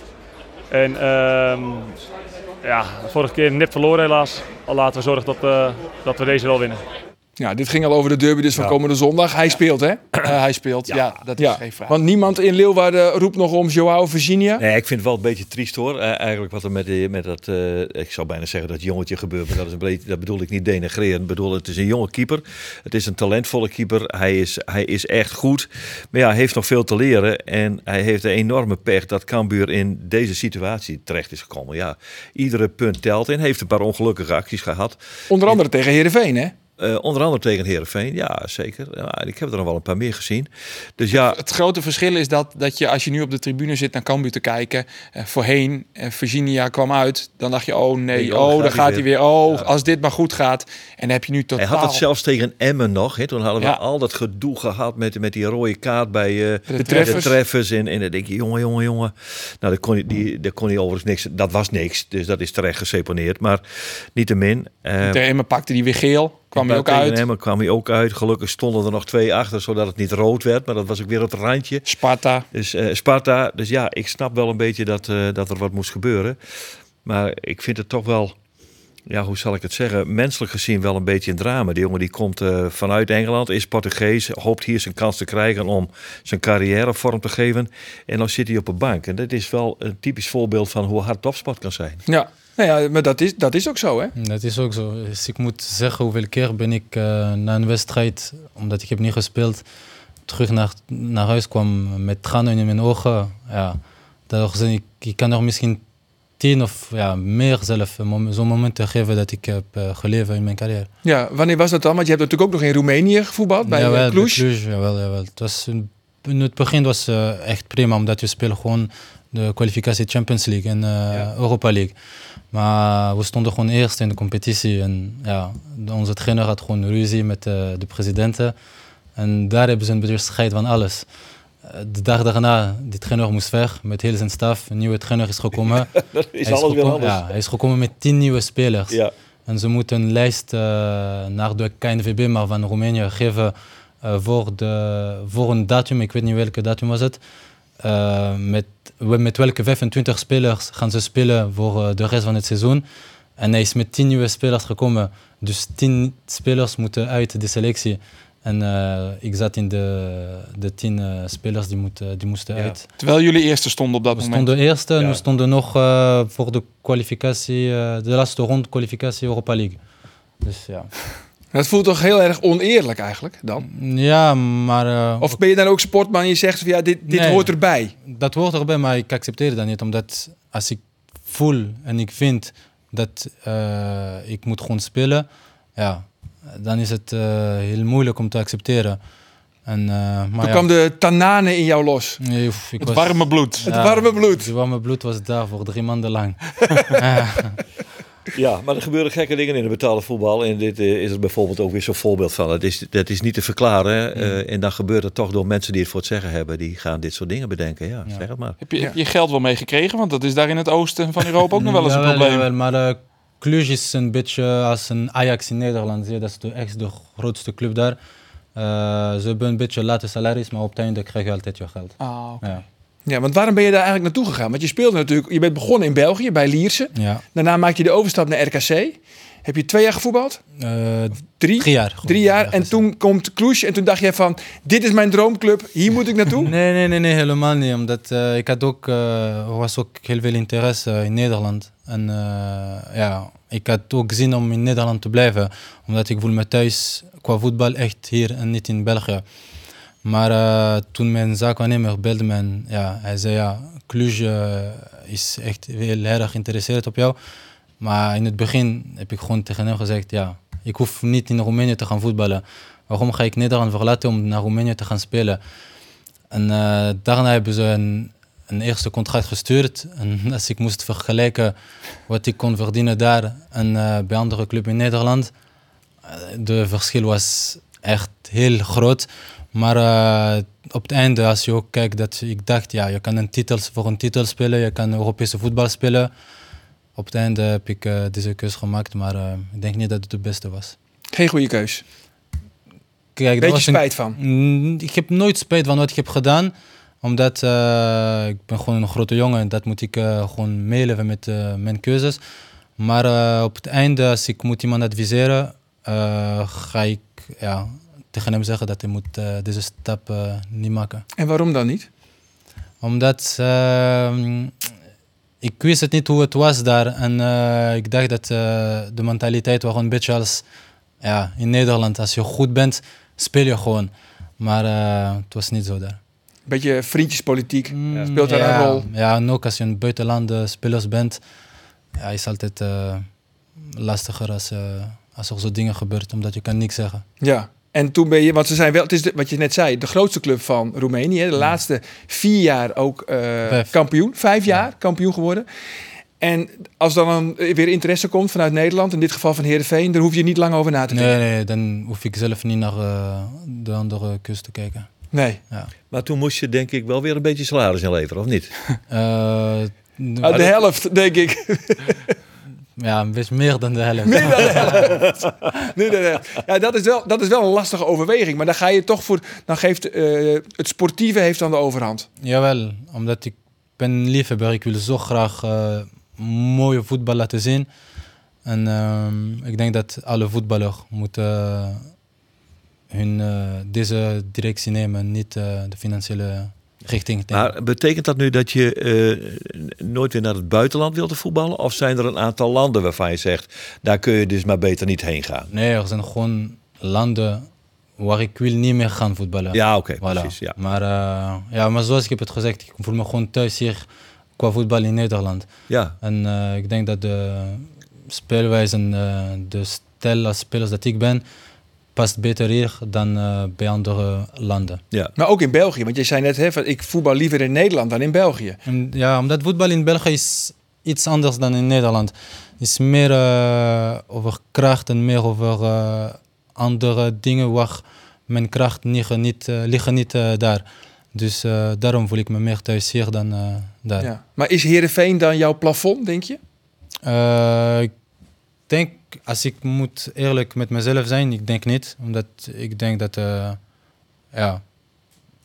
En ehm, ja, vorige keer net verloren helaas. Al laten we zorgen dat, eh, dat we deze wel winnen.
Ja, dit ging al over de derby dus van komende zondag. Hij speelt, hè?
Eh, hij speelt, ja, dat is
Ja,
geen vraag.
want niemand in Leeuwarden roept nog om Joao Virginia.
Nee, ik vind het wel een beetje triest hoor. Eh, eigenlijk wat er met, die- met dat, eh, ik zou bijna zeggen dat jongetje gebeurt. Maar dat, is een beetje, dat bedoel ik niet denigrerend. Ik bedoel, het is een jonge keeper. Het is een talentvolle keeper. Hij is, hij is echt goed. Maar ja, hij heeft nog veel te leren. En hij heeft een enorme pech dat Cambuur in deze situatie terecht is gekomen. Ja, iedere punt telt en heeft een paar ongelukkige acties gehad.
Onder andere tegen Heerenveen, hè?
Eh, onder andere tegen Heerenveen, ja zeker. Ja, ik heb er nog wel een paar meer gezien. Dus ja,
Het grote verschil is dat, dat je als je nu op de tribune zit naar Cambuur te kijken, eh, voorheen eh, Virginia kwam uit, dan dacht je oh
Nee,
nee, oh, daar gaat hij weer, oh als dit maar goed gaat. En dan heb je nu totaal.
Hij had dat zelfs tegen Emmen nog. Hè? Toen hadden we
Ja.
al dat gedoe gehad met, met die rode kaart bij eh,
De treffers.
de treffers. En, en dan denk je, jongen, jongen, jongen. Nou, daar kon, hij- die, daar kon hij overigens niks. Dat was niks. Dus dat is terecht geseponeerd. Maar niettemin. eh,
Ter Emmen pakte die weer geel, kwam hij ook
tegen
uit.
Emmen kwam hij ook uit. Gelukkig stonden er nog twee achter, zodat het niet rood werd. Maar dat was ook weer op het randje.
Sparta.
Dus eh, Sparta. Dus ja, ik snap wel een beetje dat, eh, dat er wat moest gebeuren. Maar ik vind het toch wel, ja, hoe zal ik het zeggen, menselijk gezien wel een beetje een drama. Die jongen die komt eh, vanuit Engeland, is Portugees, hoopt hier zijn kans te krijgen om zijn carrière vorm te geven. En dan zit hij op een bank. En dat is wel een typisch voorbeeld van hoe hard topsport kan zijn.
Ja, nou ja maar dat is, dat is ook zo, hè?
Mm, Dat is ook zo. Dus ik moet zeggen hoeveel keer ben ik eh, na een wedstrijd, omdat ik heb niet gespeeld, terug naar, naar huis kwam met tranen in mijn ogen. Ja, daardoor zijn ik, ik kan er misschien tien of ja, meer zelf een mom- zo'n momenten geven dat ik heb eh, geleefd in mijn carrière.
Ja, wanneer was dat dan? Want je hebt natuurlijk ook nog in Roemenië gevoetbald, bij
Jawel,
eh, Cluj.
jawel, jawel. Het was een- in het begin was eh, echt prima, omdat je speelt gewoon de kwalificatie Champions League en eh, Europa League. Maar we stonden gewoon eerst in de competitie. En ja, de- onze trainer had gewoon ruzie met eh, de presidenten. En daar hebben ze een beetje scheid van alles. Eh, De dag daarna, die trainer moest weg met heel zijn staf. Een nieuwe trainer is gekomen.
Dat
Hij gekomen- Ja, hij is gekomen met tien nieuwe spelers.
Ja.
En ze moeten een lijst eh, naar de KNVB, maar van Roemenië, geven eh, voor, de, voor een datum, ik weet niet welke datum was het. Eh, met, we- met welke 25 spelers gaan ze spelen voor eh, de rest van het seizoen. En hij is met 10 nieuwe spelers gekomen. Dus 10 spelers moeten uit de selectie. En eh, ik zat in de, de 10 eh, spelers die, moeten, die moesten
Ja.
uit.
Terwijl jullie eerste stonden op dat
We
moment.
stonden eerste en
Ja.
we stonden nog eh, voor de kwalificatie, eh, de laatste ronde kwalificatie Europa League. Dus ja.
Dat voelt toch heel erg oneerlijk eigenlijk dan?
Ja, maar eh,
Of ben je dan ook sportman en je zegt van ja, dit, dit
Nee.
hoort erbij?
dat hoort erbij, maar ik accepteer dat niet. Omdat als ik voel en ik vind dat eh, ik moet gewoon spelen, ja, dan is het eh, heel moeilijk om te accepteren. En, eh, maar
Toen
ja,
kwam de tanane in jou los.
Nee, oef, ik
Het
was-
warme bloed.
Het warme bloed.
Het warme bloed was daar voor drie maanden lang.
Ja, maar er gebeuren gekke dingen in het betaalde voetbal. En dit eh, is er bijvoorbeeld ook weer zo'n voorbeeld van. Dat is, dat is niet te verklaren. hè. Eh, en dan gebeurt het toch door mensen die het voor het zeggen hebben. Die gaan dit soort dingen bedenken. Ja, zeg het maar.
Heb je, heb je geld wel meegekregen? Want dat is daar in het oosten van Europa ook nog wel eens een
Jawel,
probleem.
jawel, maar eh, Cluj is een beetje als een Ajax in Nederland. Zie je, Dat is de, echt de grootste club daar. Eh, ze hebben een beetje late salaris, maar op het einde krijg je altijd je geld.
Ah, oké.
Ja.
Ja, want waarom ben je daar eigenlijk naartoe gegaan? Want je speelde natuurlijk, je bent begonnen in België bij Lierse.
Ja.
Daarna maak je de overstap naar RKC. Heb je twee jaar gevoetbald?
Eh,
Drie?
drie jaar.
Drie jaar. En toen komt Kloes en toen dacht je van, dit is mijn droomclub, hier moet ik naartoe.
Nee, nee, nee, nee, helemaal niet. Omdat eh, ik had ook, eh, er was ook heel veel interesse eh, in Nederland. En eh, ja, ik had ook zin om in Nederland te blijven. Omdat ik voel me thuis qua voetbal echt hier en niet in België. Maar eh, toen mijn zaakwaarnemer belde me, en, ja, hij zei ja, Cluj eh, is echt heel erg geïnteresseerd op jou. Maar in het begin heb ik gewoon tegen hem gezegd, ja, ik hoef niet in Roemenië te gaan voetballen. Waarom ga ik Nederland verlaten om naar Roemenië te gaan spelen? En eh, daarna hebben ze een, een eerste contract gestuurd. En als ik moest vergelijken wat ik kon verdienen daar en eh, bij andere club in Nederland, eh, de verschil was echt heel groot. Maar eh, op het einde, als je ook kijkt, dat ik dacht, ja, je kan een titel, voor een titel spelen, je kan Europese voetbal spelen. Op het einde heb ik eh, deze keus gemaakt, maar eh, ik denk niet dat het de beste was.
Geen goede keus.
Kijk, er
Beetje
was een-
spijt van.
Mm, Ik heb nooit spijt van wat ik heb gedaan. Omdat eh, ik ben gewoon een grote jongen. en Dat moet ik eh, gewoon meeleven met eh, mijn keuzes. Maar eh, op het einde, als ik moet iemand adviseren, eh, ga ik ja, tegen hem zeggen dat hij moet eh, deze stap eh, niet maken.
En waarom dan niet?
Omdat eh, ik wist het niet hoe het was daar. En eh, ik dacht dat eh, de mentaliteit was een beetje als ja, in Nederland. Als je goed bent, speel je gewoon. Maar eh, het was niet zo daar.
Beetje vriendjespolitiek. Speelt daar
Mm, ja,
een rol?
Ja, en ook als je een buitenlandse spelers bent, ja, is altijd eh, lastiger als, eh, als er zo dingen gebeurt, omdat je kan niks zeggen.
Ja. En toen ben je, want ze zijn wel, het is de- wat je net zei, de grootste club van Roemenië. De laatste vier jaar ook eh,
Vijf.
kampioen. Vijf jaar kampioen geworden. En als dan een- eh, weer interesse komt vanuit Nederland, in dit geval van Heerenveen, dan hoef je niet lang over na te denken.
Nee, nee, dan hoef ik zelf niet naar eh, de andere kust te kijken.
Nee. Ah,
Maar toen moest je denk ik wel weer een beetje salaris inleveren, of niet?
Eh,
Uit Oh, de helft, denk ik.
Ja, een beetje meer dan de helft.
Meer dan de helft. Meer dan de helft. Ja, dat is, wel, dat is wel een lastige overweging. Maar dan ga je toch voor. Dan geeft eh, het sportieve heeft dan de overhand.
Jawel, omdat ik ben een liefhebber. Ik wil zo graag eh, mooie voetbal laten zien. En ehm, ik denk dat alle voetballers moeten eh, hun, eh, deze directie nemen, en niet eh, de financiële richting. denken.
Maar betekent dat nu dat je eh, nooit weer naar het buitenland wilt voetballen? Of zijn er een aantal landen waarvan je zegt, daar kun je dus maar beter niet heen gaan?
Nee, er zijn gewoon landen waar ik wil niet meer gaan voetballen.
Ja, oké,
Voilà.
precies. Ja.
Maar, eh, ja, maar zoals ik heb het gezegd, ik voel me gewoon thuis hier qua voetbal in Nederland.
ja.
En eh, ik denk dat de speelwijze en eh, de stijl als spelers dat ik ben, past beter hier dan eh, bij andere landen.
Maar ook in België. Want je zei net, hè, van, ik voetbal liever in Nederland dan in België.
En, ja, omdat voetbal in België is iets anders dan in Nederland. Het is meer eh, over kracht en meer over eh, andere dingen waar mijn kracht niet, niet, eh, liggen niet eh, daar. Dus eh, daarom voel ik me meer thuis hier dan eh, daar.
Ja. Maar is Heerenveen dan jouw plafond, denk je?
Eh, ik denk, als ik moet eerlijk met mezelf zijn, ik denk niet. Omdat ik denk dat, eh, ja,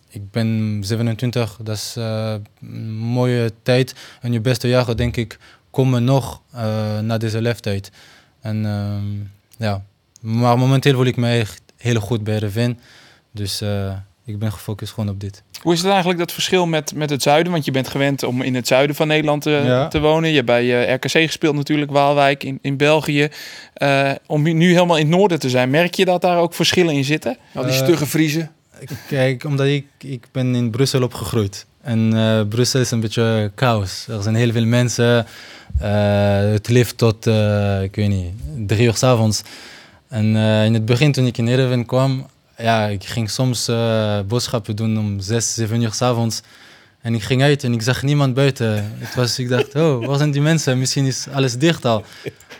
ik ben 27, dat is eh, een mooie tijd. En je beste jaren, denk ik, komen nog eh na deze leeftijd. En ehm, ja, maar momenteel voel ik me echt heel goed bij Revin. Dus eh, ik ben gefocust gewoon op dit.
Hoe is het eigenlijk dat verschil met, met het zuiden? Want je bent gewend om in het zuiden van Nederland te,
Ja.
te wonen. Je hebt bij eh, RKC gespeeld natuurlijk, Waalwijk in, in België. Eh, om nu helemaal in het noorden te zijn, merk je dat daar ook verschillen in zitten?
Al die
Eh,
stugge Vriezen.
Kijk, omdat ik, ik ben in Brussel opgegroeid. En eh, Brussel is een beetje chaos. Er zijn heel veel mensen. Eh, het leeft tot, eh, ik weet niet, drie uur s'avonds. En eh, in het begin toen ik in Erevin kwam, ja, ik ging soms eh, boodschappen doen om zes, zeven uur s'avonds. En ik ging uit en ik zag niemand buiten. Het was, ik dacht, oh, waar zijn die mensen? Misschien is alles dicht al.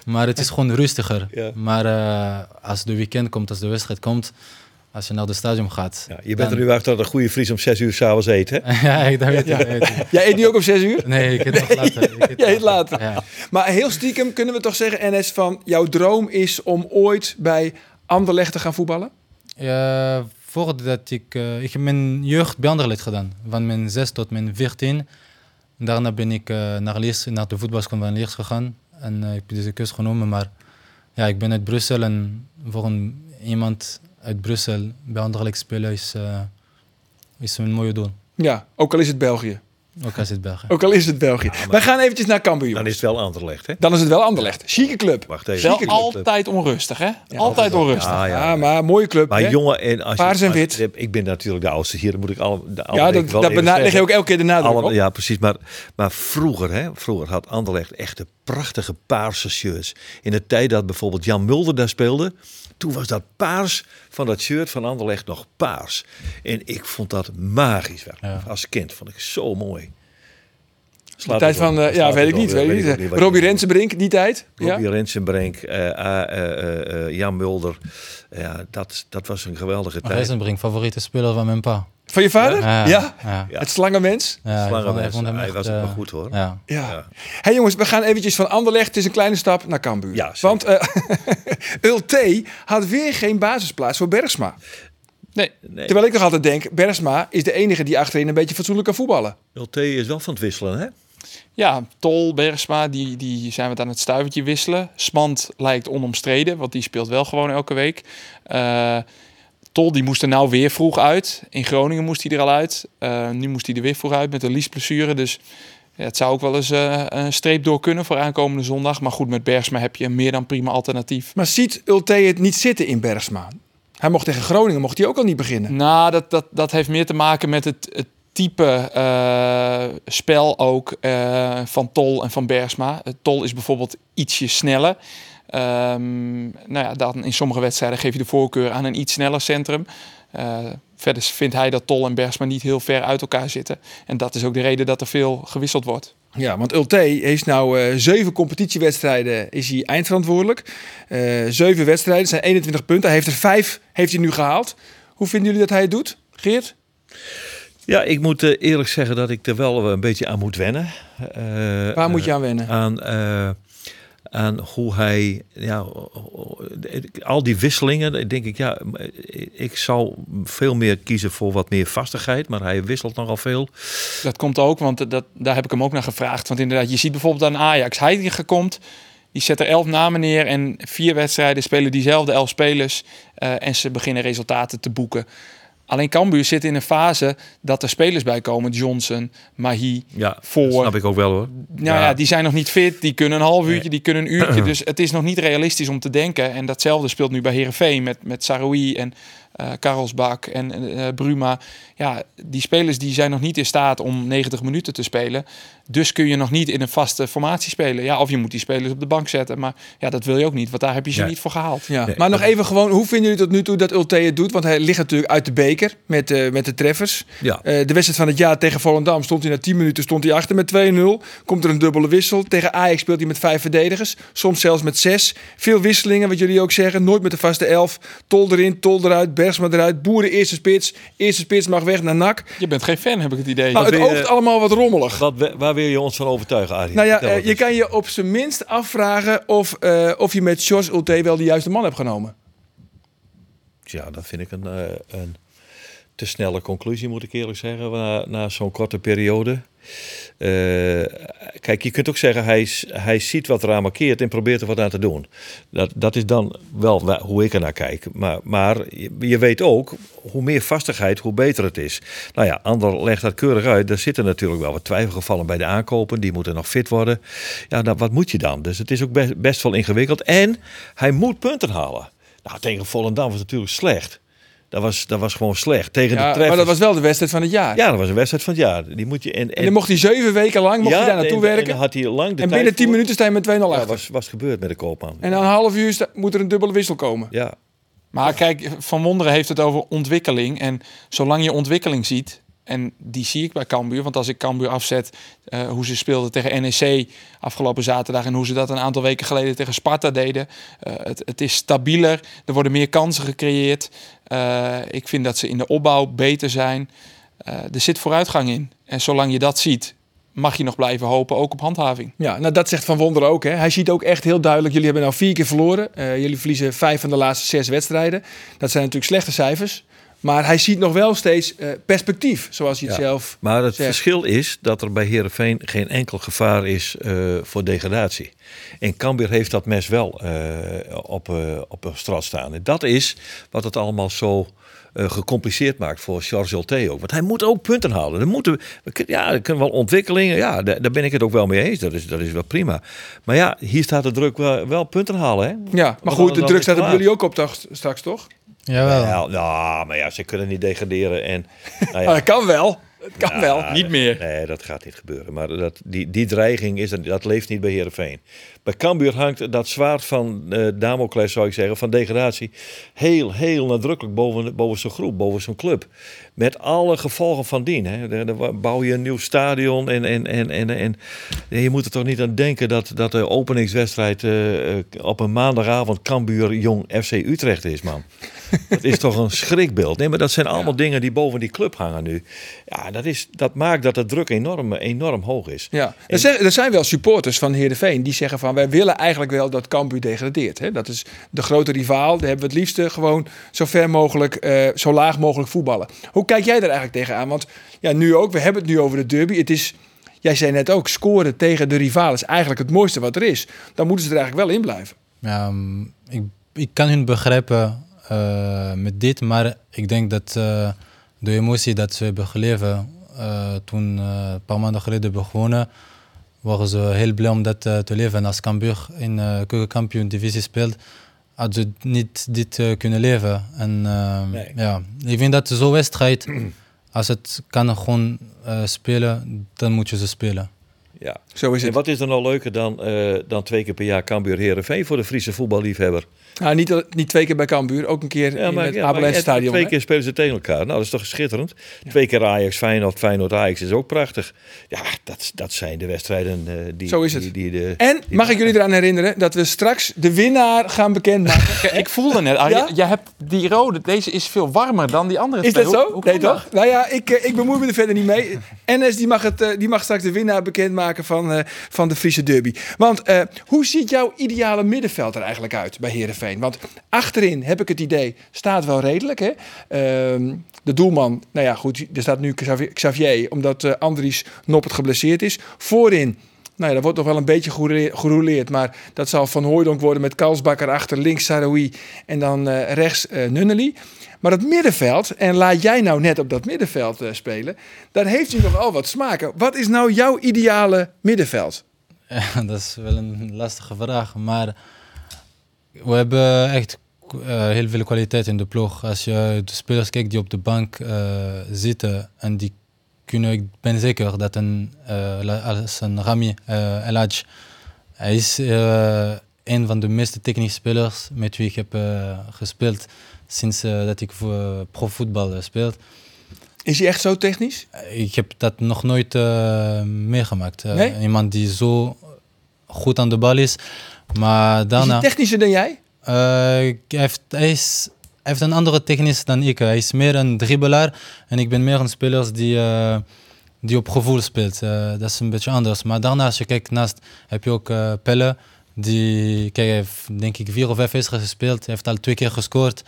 Maar het is gewoon rustiger.
Ja.
Maar eh, als de weekend komt, als de wedstrijd komt, als je naar de stadion gaat.
Ja, je bent
dan-
er nu achter dat een goede Fries om zes uur s'avonds eet, hè?
ja, ik dat weet ik, weet ik.
Jij eet nu ook om zes uur?
Nee, ik heb het nog later. Ik heb
Jij eet
het
later.
Ja.
Maar heel stiekem kunnen we toch zeggen, NS, van jouw droom is om ooit bij Anderlecht te gaan voetballen?
Eh, voordat ik... eh, ik heb mijn jeugd bij Anderlecht gedaan. Van mijn 6 tot mijn 14. Daarna ben ik eh, naar, Leers, naar de voetbalschool van Leers gegaan. En eh, ik heb deze keus genomen. Maar ja, ik ben uit Brussel. En voor een, iemand uit Brussel bij Anderlecht spelen is, eh, is een mooie doel.
Ja, ook al is het België.
Ook als het België.
Ook al is het België. Wij gaan eventjes naar Cambuur.
Dan is het wel Anderlecht, hè?
Dan is het wel Anderlecht. Chique club.
Wacht even.
Wel
Zeker.
altijd onrustig, hè? altijd onrustig.
Ah, ja.
Ja, maar mooie club.
Maar
hè?
jongen, en als je-
Paars en
als je-
wit.
ik ben natuurlijk de oudste hier, dat moet ik al. de
ja,
Anderlecht
dat,
wel
dat
even
bena- leg je
zeggen.
ook elke keer de nadruk
Alle-
op.
ja, precies. Maar, maar vroeger, hè, vroeger had Anderlecht echt de prachtige paarse shirts. In de tijd dat bijvoorbeeld Jan Mulder daar speelde, toen was dat paars van dat shirt van Anderlecht nog paars. En ik vond dat magisch. wel.
Ja.
Als kind vond ik zo mooi.
De
Slaat
tijd
het op,
van, eh, ja,
slaat
weet
het
ik niet.
op,
Weet ik
ook
niet.
niet
eh,
wat
Robbie
je-
Rensenbrink, die tijd. Ja.
Robbie Rensenbrink, eh, A- eh, eh, eh, Jan Mulder. Ja, dat, dat was een geweldige tijd.
Reizenbrink, favoriete speler van mijn pa.
Van je vader? Ja.
ja.
Ja.
Het slangenmens.
Ja, ik
Slangenwijs.
vond- ik vond hem
Hij
echt,
was ook wel
eh,
goed, hoor.
Ja.
Ja.
Ja.
Hé jongens, we gaan eventjes van Anderlecht. Het is een kleine stap naar Cambuur.
Ja, zeker.
Want eh Ulte had weer geen basisplaats voor Bergsma.
Nee.
Nee.
Terwijl ik nog altijd denk, Bergsma is de enige die achterin een beetje fatsoenlijk kan voetballen.
LT is wel van het wisselen, hè?
Ja, Tol, Bergsma, die, die zijn we het aan het stuivertje wisselen. Smant lijkt onomstreden, want die speelt wel gewoon elke week. Eh, Tol, die moest er nou weer vroeg uit. In Groningen moest hij er al uit. Eh, nu moest hij er weer vroeg uit met een liesblessure. Dus ja, het zou ook wel eens eh, een streep door kunnen voor aankomende zondag. Maar goed, met Bergsma heb je een meer dan prima alternatief.
Maar ziet Ulte het niet zitten in Bergsma? Hij mocht tegen Groningen mocht hij ook al niet beginnen.
Nou, dat, dat, dat heeft meer te maken met het, het type eh, spel ook eh, van Tol en van Bergsma. Eh, Tol is bijvoorbeeld ietsje sneller. Ehm, nou ja, dan in sommige wedstrijden geef je de voorkeur aan een iets sneller centrum. Eh, verder vindt hij dat Tol en Bergsma niet heel ver uit elkaar zitten. En dat is ook de reden dat er veel gewisseld wordt.
Ja, want Ulte heeft nou eh, zeven competitiewedstrijden, is hij eindverantwoordelijk. Eh, zeven wedstrijden, zijn 21 punten. Hij heeft er vijf heeft hij nu gehaald. Hoe vinden jullie dat hij het doet, Geert?
Ja, ik moet eh, eerlijk zeggen dat ik er wel eh, een beetje aan moet wennen. Eh,
Waar moet je
eh,
aan wennen?
aan? eh, aan hoe hij, ja, al die wisselingen, dan denk ik, ja, eh, ik zou veel meer kiezen voor wat meer vastigheid, maar hij wisselt nogal veel.
Dat komt ook, want dat, daar heb ik hem ook naar gevraagd. Want inderdaad, je ziet bijvoorbeeld aan Ajax. Heidegger komt, die zet er elf namen neer en vier wedstrijden spelen diezelfde elf spelers. eh, en ze beginnen resultaten te boeken. Alleen Cambuur zit in een fase dat er spelers bij komen. Johnson, Mahi.
Ja,
Voor.
dat snap ik ook wel hoor.
Nou ja.
Ja.
die zijn nog niet fit. Die kunnen een half uurtje, die kunnen een uurtje. Dus het is nog niet realistisch om te denken. En datzelfde speelt nu bij Herenveen met, met Saroui en eh Karelsbak en eh, Bruma. Ja, die spelers die zijn nog niet in staat om 90 minuten te spelen. Dus kun je nog niet in een vaste formatie spelen. Ja, of je moet die spelers op de bank zetten. Maar ja, dat wil je ook niet, want daar heb je ze
Nee.
niet voor gehaald.
Ja. maar nog even gewoon, hoe vinden jullie tot nu toe dat Ulte het doet? Want hij ligt natuurlijk uit de beker met, eh, met de treffers.
Ja.
Eh, de wedstrijd van het jaar tegen Volendam stond hij na 10 minuten stond hij achter met 2-0. Komt er een dubbele wissel. Tegen Ajax speelt hij met vijf verdedigers. Soms zelfs met zes. Veel wisselingen, wat jullie ook zeggen. Nooit met de vaste elf. Tol erin, Tol eruit, Bergsma eruit. Boeren eerste spits. Eerste spits mag weg naar NAC.
Je bent geen fan, heb ik het idee.
Nou, het
wil je-
oogt allemaal wat rommelig.
Wat, we- waar wil je ons van overtuigen, Arie?
Nou ja,
Vertel
eh,
het
je
eens.
kan je op zijn minst afvragen of, eh, of je met George Ulte wel de juiste man hebt genomen.
Ja, dat vind ik een, eh, een te snelle conclusie, moet ik eerlijk zeggen, na, na zo'n korte periode. Eh, kijk, je kunt ook zeggen, hij, s- hij ziet wat eraan markeert en probeert er wat aan te doen. Dat, dat is dan wel wa- hoe ik ernaar kijk. Maar, maar je, je weet ook, hoe meer vastigheid, hoe beter het is. Nou ja, Ander legt dat keurig uit. Er zitten natuurlijk wel wat twijfelgevallen bij de aankopen. Die moeten nog fit worden. Ja, nou, wat moet je dan? Dus het is ook best, best wel ingewikkeld. En hij moet punten halen. Nou, tegen Volendam was het natuurlijk slecht. Dat was, dat was gewoon slecht. Tegen de
Ja, maar
treffers.
dat was wel de wedstrijd van het jaar.
Ja, dat was een wedstrijd van het jaar. Die moet je, en, en,
En dan mocht hij zeven weken lang mocht hij daar naartoe
en- en
werken.
dan
En,
had hij lang de tijd
binnen tien
voor.
minuten sta je met 2-0 achter.
Ja, was, was gebeurd met de koopman.
En na een half uur sta- moet er een dubbele wissel komen.
Ja,
Maar kijk, Van Wonderen heeft het over ontwikkeling. En zolang je ontwikkeling ziet, en die zie ik bij Cambuur. Want als ik Cambuur afzet, eh, hoe ze speelden tegen NEC afgelopen zaterdag... en hoe ze dat een aantal weken geleden tegen Sparta deden. eh, het, het is stabieler, er worden meer kansen gecreëerd. Eh, ik vind dat ze in de opbouw beter zijn. Eh, er zit vooruitgang in. En zolang je dat ziet, mag je nog blijven hopen, ook op handhaving.
Ja, nou dat zegt Van Wonderen ook. Hè. Hij ziet ook echt heel duidelijk, jullie hebben nou vier keer verloren. Eh, jullie verliezen vijf van de laatste zes wedstrijden. Dat zijn natuurlijk slechte cijfers. Maar hij ziet nog wel steeds eh, perspectief, zoals hij het
Ja,
zelf
Maar het
zegt.
verschil is dat er bij Herenveen geen enkel gevaar is eh, voor degradatie. En Cambuur heeft dat mes wel eh, op, eh op een straat staan. En dat is wat het allemaal zo eh, gecompliceerd maakt voor Charles Jolte ook. Want hij moet ook punten halen. Dan moeten we, we kun- ja, er kunnen wel ontwikkelingen. Ja, daar, daar ben ik het ook wel mee eens. Dat is, dat is wel prima. Maar ja, hier staat de druk wel, wel punten halen. Hè?
Ja, maar
Want
goed,
anders
de
dan
druk
is het
staat op
klaar.
jullie ook op dag- straks, toch?
Jawel.
Ja, nou, maar ja, ze kunnen niet degraderen. En, nou
Ah,
ja, Ah,
dat kan wel. Het kan wel.
Ah, Niet meer.
Nee, dat gaat niet gebeuren. Maar dat, die, die dreiging is, er- dat leeft niet bij Heerenveen. Bij Cambuur hangt dat zwaard van eh Damocles, zou ik zeggen, van degradatie... heel, heel nadrukkelijk boven, boven zo'n groep, boven zo'n club. Met alle gevolgen van dien. Hè. Daar- daar bouw je een nieuw stadion en, en, en, en, en, en je moet er toch niet aan denken... dat, dat de openingswedstrijd eh, eh, op een maandagavond Cambuur-Jong FC Utrecht is, man. Dat is toch een schrikbeeld. Nee, maar dat zijn allemaal dingen die boven die club hangen nu. Ja, dat, is, dat maakt dat de druk enorm, enorm hoog is.
Ja. Er, zijn, er zijn wel supporters van Heerenveen die zeggen van... wij willen eigenlijk wel dat Cambuur degradeert. Hè? Dat is de grote rivaal. Daar hebben we het liefste gewoon zo ver mogelijk... eh, zo laag mogelijk voetballen. Hoe kijk jij daar eigenlijk tegenaan? Want ja, nu ook, we hebben het nu over de derby. Het is, jij zei net ook, scoren tegen de rivaal is eigenlijk het mooiste wat er is. Dan moeten ze er eigenlijk wel in blijven.
Ja, mm, ik, ik kan hun begrijpen eh, met dit, maar ik denk dat eh, de emotie dat ze hebben geleefd eh, toen eh, een paar maanden geleden begonnen, waren ze heel blij om dat eh, te leven. En als Cambuur in eh keukenkampioen divisie speelt, had ze niet dit eh, kunnen leven. En eh,
Nee.
ja, ik vind dat zo'n wedstrijd, als het kan gewoon eh, spelen, dan moet je ze spelen.
Ja.
Zo is
En
het.
wat is er nou leuker dan, eh, dan twee keer per jaar Cambuur Herenveen voor de Friese voetballiefhebber?
Nou, niet, niet twee keer bij Cambuur. Ook een keer in het
ja,
Abelense
en
Stadion.
twee
hè?
keer spelen ze tegen elkaar. Nou, dat is toch schitterend. Twee keer Ajax, Feyenoord, Feyenoord, Ajax is ook prachtig. Ja, dat, dat zijn de wedstrijden eh, die,
Zo is het.
die, die de.
En mag ik jullie eraan herinneren dat we straks de winnaar gaan bekendmaken?
Ik voelde net, ah,
Ja?
je, je hebt die rode, deze is veel warmer dan die andere
Is
twee.
dat
Hoe-
zo?
hoe
nee
kan dat?
toch? Nou ja, ik, eh, ik bemoei me er verder niet mee. NS die mag, het, eh, die mag straks de winnaar bekendmaken van, eh, van de Friese derby. Want eh, hoe ziet jouw ideale middenveld er eigenlijk uit bij Heerenveen? Want achterin heb ik het idee, staat wel redelijk. Hè? Ehm, de doelman, nou ja goed, er staat nu Xavier- Xavier omdat eh, Andries Noppert geblesseerd is. Voorin... Nou ja, dat wordt nog wel een beetje geroule- gerouleerd. Maar dat zal Van Hooijdonk worden met Kalsbakker achter, links Saroui en dan eh, rechts eh Nunnely. Maar dat middenveld, en laat jij nou net op dat middenveld eh, spelen, daar heeft u nogal wat smaken. Wat is nou jouw ideale middenveld?
Ja, dat is wel een lastige vraag. Maar we hebben echt eh, heel veel kwaliteit in de ploeg. Als je de spelers kijkt die op de bank eh, zitten en die kunnen, ik ben zeker dat een, eh, la- als een Rami eh El Hadj, hij is eh, een van de meeste technische spelers met wie ik heb eh, gespeeld sinds eh, dat ik voor profvoetbal eh, speel.
Is hij echt zo technisch?
Ik heb dat nog nooit eh, meegemaakt. Eh,
Nee?
Iemand die zo goed aan de bal is. Maar
Is
daarna.
hij technischer dan jij?
eh, hij, heeft, hij, is, hij heeft een andere technisch dan ik. Hij is meer een dribbelaar. En ik ben meer een speler die, eh, die op gevoel speelt. Eh, dat is een beetje anders. Maar daarna, als je kijkt naast, heb je ook eh, Pelle. Die, kijk, hij heeft denk ik vier of vijf wedstrijden gespeeld. Hij heeft al twee keer gescoord.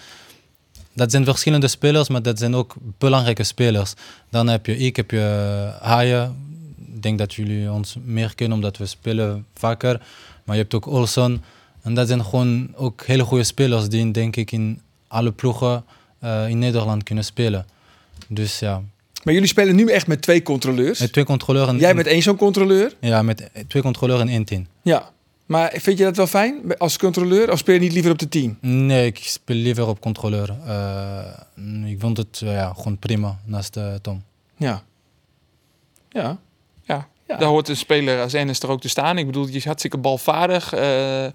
Dat zijn verschillende spelers, maar dat zijn ook belangrijke spelers. Dan heb je ik, heb je Haaien. Ik denk dat jullie ons meer kennen omdat we spelen vaker. Maar je hebt ook Olson. En dat zijn gewoon ook hele goede spelers die denk ik in alle ploegen eh, in Nederland kunnen spelen. Dus ja,
Maar jullie spelen nu echt met twee controleurs.
met twee controleurs en
Jij bent één zo'n controleur?
ja, met twee controleurs en één team.
Ja. Maar vind je dat wel fijn als controleur? Of speel je niet liever op de team?
Nee, ik speel liever op controleur. Eh, ik vond het eh, ja, gewoon prima naast eh, Tom.
Ja. Ja.
Ja.
Ja.
Daar hoort een speler als Enes er ook te staan. Ik bedoel, die is hartstikke balvaardig. Eh,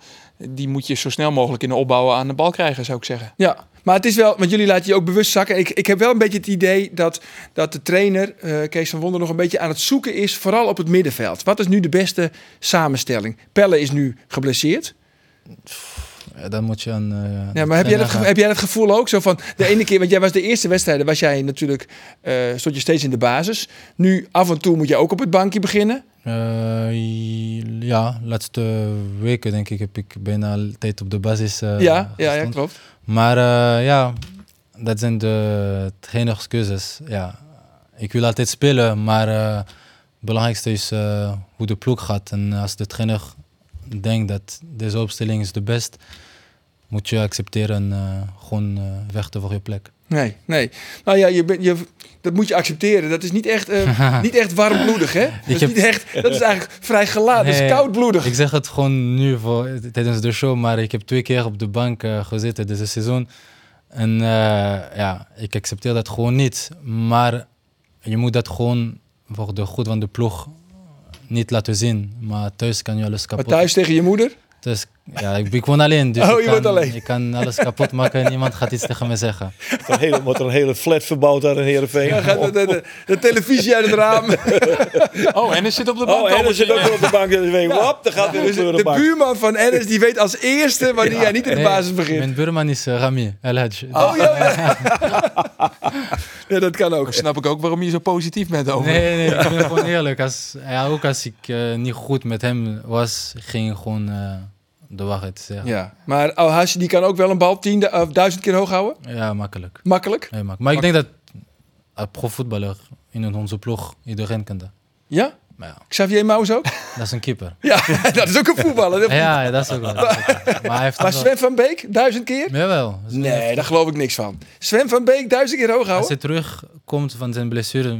die moet je zo snel mogelijk in de opbouw aan de bal krijgen, zou ik zeggen.
Ja, maar het is wel, want jullie laten je ook bewust zakken. Ik, ik heb wel een beetje het idee dat, dat de trainer, eh, Kees van Wonder, nog een beetje aan het zoeken is, vooral op het middenveld. Wat is nu de beste samenstelling? Pelle is nu geblesseerd.
Ja, dan moet je een. eh,
Ja, maar heb jij, dat,
trainer
ge- heb jij dat gevoel ook zo van de ene keer, want jij was de eerste wedstrijden, was jij natuurlijk, eh, stond je steeds in de basis. Nu af en toe moet je ook op het bankje beginnen.
Eh, ja, laatste weken denk ik heb ik bijna altijd op de basis. eh,
ja, ja, ja,
gestond.
klopt.
Maar eh, ja, dat zijn de geen excuses. Ja. Ik wil altijd spelen, maar eh, het belangrijkste is eh, hoe de ploeg gaat. En als de trainer denkt dat deze opstelling is de best, moet je accepteren en eh, gewoon eh, vechten voor je plek.
Nee, nee. Nou ja, je bent je, dat moet je accepteren. Dat is niet echt, eh, niet echt warmbloedig, hè? Dat is,
heb-
niet echt, dat is eigenlijk vrij gelaten. Dat
Nee,
is Ah, dus koudbloedig.
Ik zeg het gewoon nu voor, tijdens de show, maar ik heb twee keer op de bank eh, gezeten deze seizoen. En eh, ja, ik accepteer dat gewoon niet. Maar je moet dat gewoon voor de goed van de ploeg niet laten zien. Maar thuis kan je alles
Maar
kapot
thuis tegen je moeder?
Dus ja, ik, ik woon alleen. Dus
Oh,
ik
je
kan,
woont alleen.
Ik kan alles kapot maken en niemand gaat iets tegen me zeggen.
Er wordt een hele- wordt er een hele flat verbouwd daar in Heerenveen. Oh,
Dan gaat de, de, de- de televisie uit het raam.
Oh, en er zit op de bank. Oh,
Oh, en er zit ook nog
eh,
op de bank. Dus weet je, wap, dan gaat weer een
Dus de
kleurenbak.
buurman van Ennis die weet als eerste wanneer jij niet in de
Nee,
basis begint.
Mijn buurman is eh, Rami El Hadj.
Oh ja, ja. ja, dat kan ook.
Snap ik ook waarom je zo positief bent over.
Nee, nee, ik ben gewoon eerlijk. Als, ja, ook als ik eh, niet goed met hem was, ging ik gewoon eh, de waarheid zeggen. Ja,
Ja, maar Alhaji die kan ook wel een bal tien, eh, of duizend keer hoog houden.
makkelijk.
Makkelijk.
Heel makkelijk. Maar ik denk dat als profvoetballer in onze ploeg iedereen kan dat.
Ja?
Maar ja,
Xavier Maus ook?
dat is een keeper.
Ja, dat is ook een voetballer.
Ja, ja, dat is ook wel. dat is ook wel. Maar hij heeft
Maar
wel-
Sven van Beek, duizend keer?
Jawel.
Nee, daar geloof ik niks van. Sven van Beek, duizend keer hoog
Als
houden?
hij terugkomt van zijn blessure, eh,